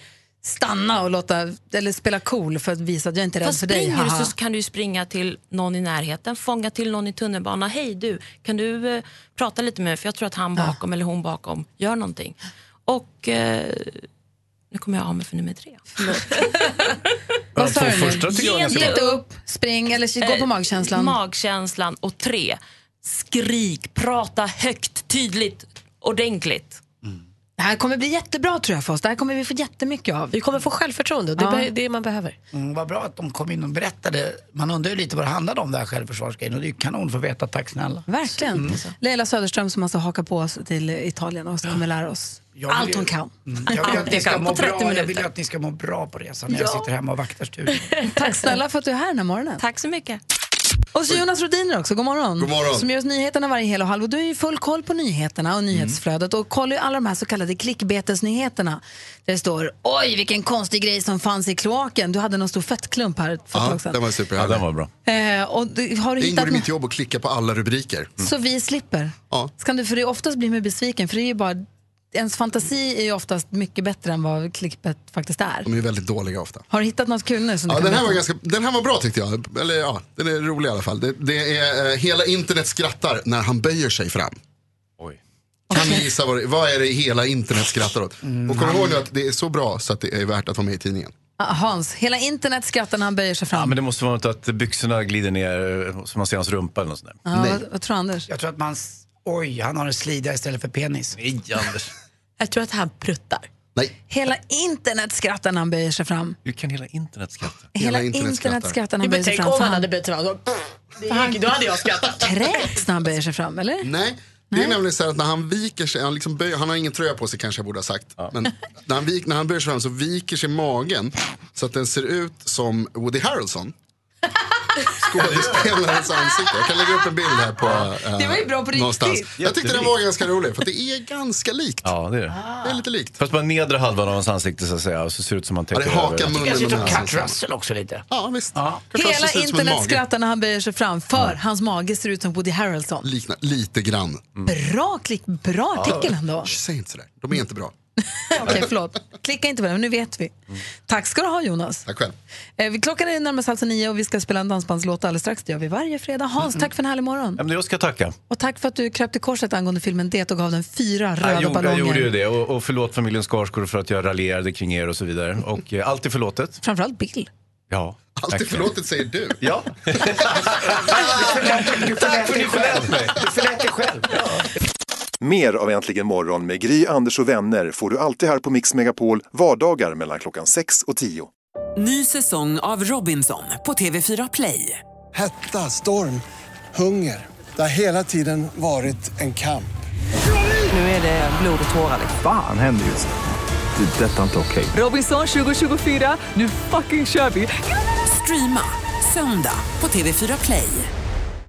S2: stanna och låta, eller spela cool för att visa att jag inte är rädd
S21: Fast
S2: för dig.
S21: springer
S2: haha.
S21: du så kan du ju springa till någon i närheten, fånga till någon i tunnelbanan. Hej du, kan du eh, prata lite med mig för jag tror att han bakom eller hon bakom gör någonting. Och eh, nu kommer jag av mig för nummer tre.
S2: Vad sa
S21: två
S2: du
S21: första
S2: nu?
S21: tycker jag
S2: Ge
S21: är ganska
S2: inte
S21: bra.
S2: upp, spring eller gå
S21: Eh,
S2: på magkänslan.
S21: Magkänslan och tre, skrik, prata högt, tydligt, ordentligt.
S2: Det här kommer bli jättebra tror jag för oss. Det här kommer vi få jättemycket av.
S4: Vi kommer få självförtroende och det är det man behöver.
S3: Mm, vad bra att de kom in och berättade. Man undrar ju lite vad det handlade om, det här självförsvarsgrejen. Och det är ju kanon för att veta. Tack snälla. Mm.
S2: Verkligen. alltså. Leila Söderström som alltså hakar på oss till Italien och kommer lära oss
S3: Jag vill
S2: allt
S3: ju-
S2: hon kan.
S3: Mm, Jag vill,
S2: Allt
S3: att
S2: jag
S3: ni ska
S2: kan
S3: må
S2: på 30
S3: bra. jag
S2: minuter.
S3: vill ju att ni ska må bra på resan när
S2: Ja.
S3: jag sitter hemma och vaktar studion.
S2: Tack snälla för att du är här den här morgonen.
S21: Tack så mycket.
S2: Och så Jonas Rodiner också, god morgon.
S9: God morgon.
S2: Som gör oss nyheterna varje hel och halv. Och du är ju full koll på nyheterna
S3: Mm.
S2: och nyhetsflödet och kollar ju alla de här så kallade klickbetesnyheterna. Där det står oj vilken konstig grej som fanns i kloaken. Du hade någon stor fettklump här för ett
S9: Ja,
S2: tag sedan.
S9: den var superhärlig. Ja, den var bra.
S2: Eh, och du, har du
S9: Det
S2: hittat
S9: ingår
S2: något
S9: i mitt jobb att klicka på alla rubriker. Mm.
S2: så vi slipper?
S9: Ja.
S2: Ska du, för det oftast blir man ju besviken för det är ju bara, ens fantasi är ju oftast mycket bättre än vad klickbet faktiskt är.
S9: De är väldigt dåliga ofta.
S2: Har du hittat något kul nu? Som
S9: Ja,
S2: du kan
S9: den, här
S2: berätta?
S9: var ganska, den här var bra tyckte jag. Eller ja, den är rolig i alla fall. Det, det är, eh, hela internet skrattar när han böjer sig fram. Kan ni gissa vad, det, vad är det hela internet skrattar åt?
S2: Mm.
S9: Och kom ihåg nu att det är så bra så att det är värt att vara med i tidningen.
S2: Ah, Hans, hela internet skrattar när han böjer sig
S18: Ja,
S2: fram.
S18: men det måste vara något att byxorna glider ner eh, så man ser hans rumpa eller något sånt där.
S2: Ja, vad, vad tror Anders?
S3: Jag tror att man... s- Oj, han har en slida istället för penis.
S18: Nej, Anders.
S2: Jag tror att han pruttar.
S9: Nej.
S2: Hela internet skrattar när han böjer sig fram.
S18: Hur kan hela internet skratta?
S2: Hela internet skrattar när han
S4: Ja, men
S2: böjer sig
S4: tänk
S2: fram.
S4: om
S2: för
S4: han hade bytt tillbaka. Det gick- då hade jag skrattat.
S2: Kräks när han böjer sig fram, eller?
S9: Nej, det är nämligen så här att när han viker sig, han, liksom böjer, han har ingen tröja på sig kanske jag borde ha sagt. Men när han, vik, när han böjer sig fram så viker sig magen så att den ser ut som Woody Harrelson. Skådespelarens ansikte. Jag kan lägga upp en bild här på eh,
S2: Det var ju bra på riktigt.
S9: någonstans. Jag tyckte den
S2: Jättelikt.
S9: var ganska rolig för att det är ganska likt.
S18: Ja, det är det.
S2: Ah.
S9: Det är lite likt.
S18: Fast bara nedre halvan av hans ansikte så att säga. Och så ser det ut som han
S9: Ja, det
S18: täcker
S9: hakar
S18: över.
S9: munnen Jag ser ut och som näsan. Kurt
S3: Russell också lite.
S9: Ja, visst.
S2: Hela
S9: ser ut som en
S2: internet
S9: mage.
S2: skrattar när han böjer sig fram för hans mage ser ut som Woody Harrelson.
S9: Likna, lite grann.
S2: Bra klick, bra artikel ändå.
S9: Säg inte sådär, de är inte bra.
S2: Okej, förlåt. Klicka inte på den, men nu vet vi. Tack ska du ha Jonas.
S9: Tack själv.
S2: Eh, vi- klockan är närmast halv nio och vi ska spela en dansbandslåt alldeles strax. Det gör vi varje fredag. Hans, tack för en härlig morgon.
S18: Ja, men jag ska tacka.
S2: Och tack för att du kröp till korset angående filmen Det och gav den fyra röda
S18: jag, gjorde, jag
S2: ballonger.
S18: Ah, gjorde ju det. Och, och förlåt familjen Skarsgård för att jag raljerade kring er och så vidare. Och eh, allt är förlåtet.
S2: Framförallt Bill.
S18: Ja.
S9: Allt är förlåtet säger du.
S18: Ja.
S3: Tack för att ni förlät
S18: mig.
S3: Du förlät dig själv.
S22: Mer av Äntligen morgon med Gry, Anders och vänner får du alltid här på Mix Megapol vardagar mellan klockan 6 och 10.
S23: Ny säsong av Robinson på TV4 Play.
S24: Hetta, storm, hunger. Det har hela tiden varit en kamp.
S23: Nu är det blod och tårar.
S6: Fan händer just nu. Det. är Detta är inte okej.
S23: Robinson 2024, nu fucking kör vi! Streama söndag på TV4 Play.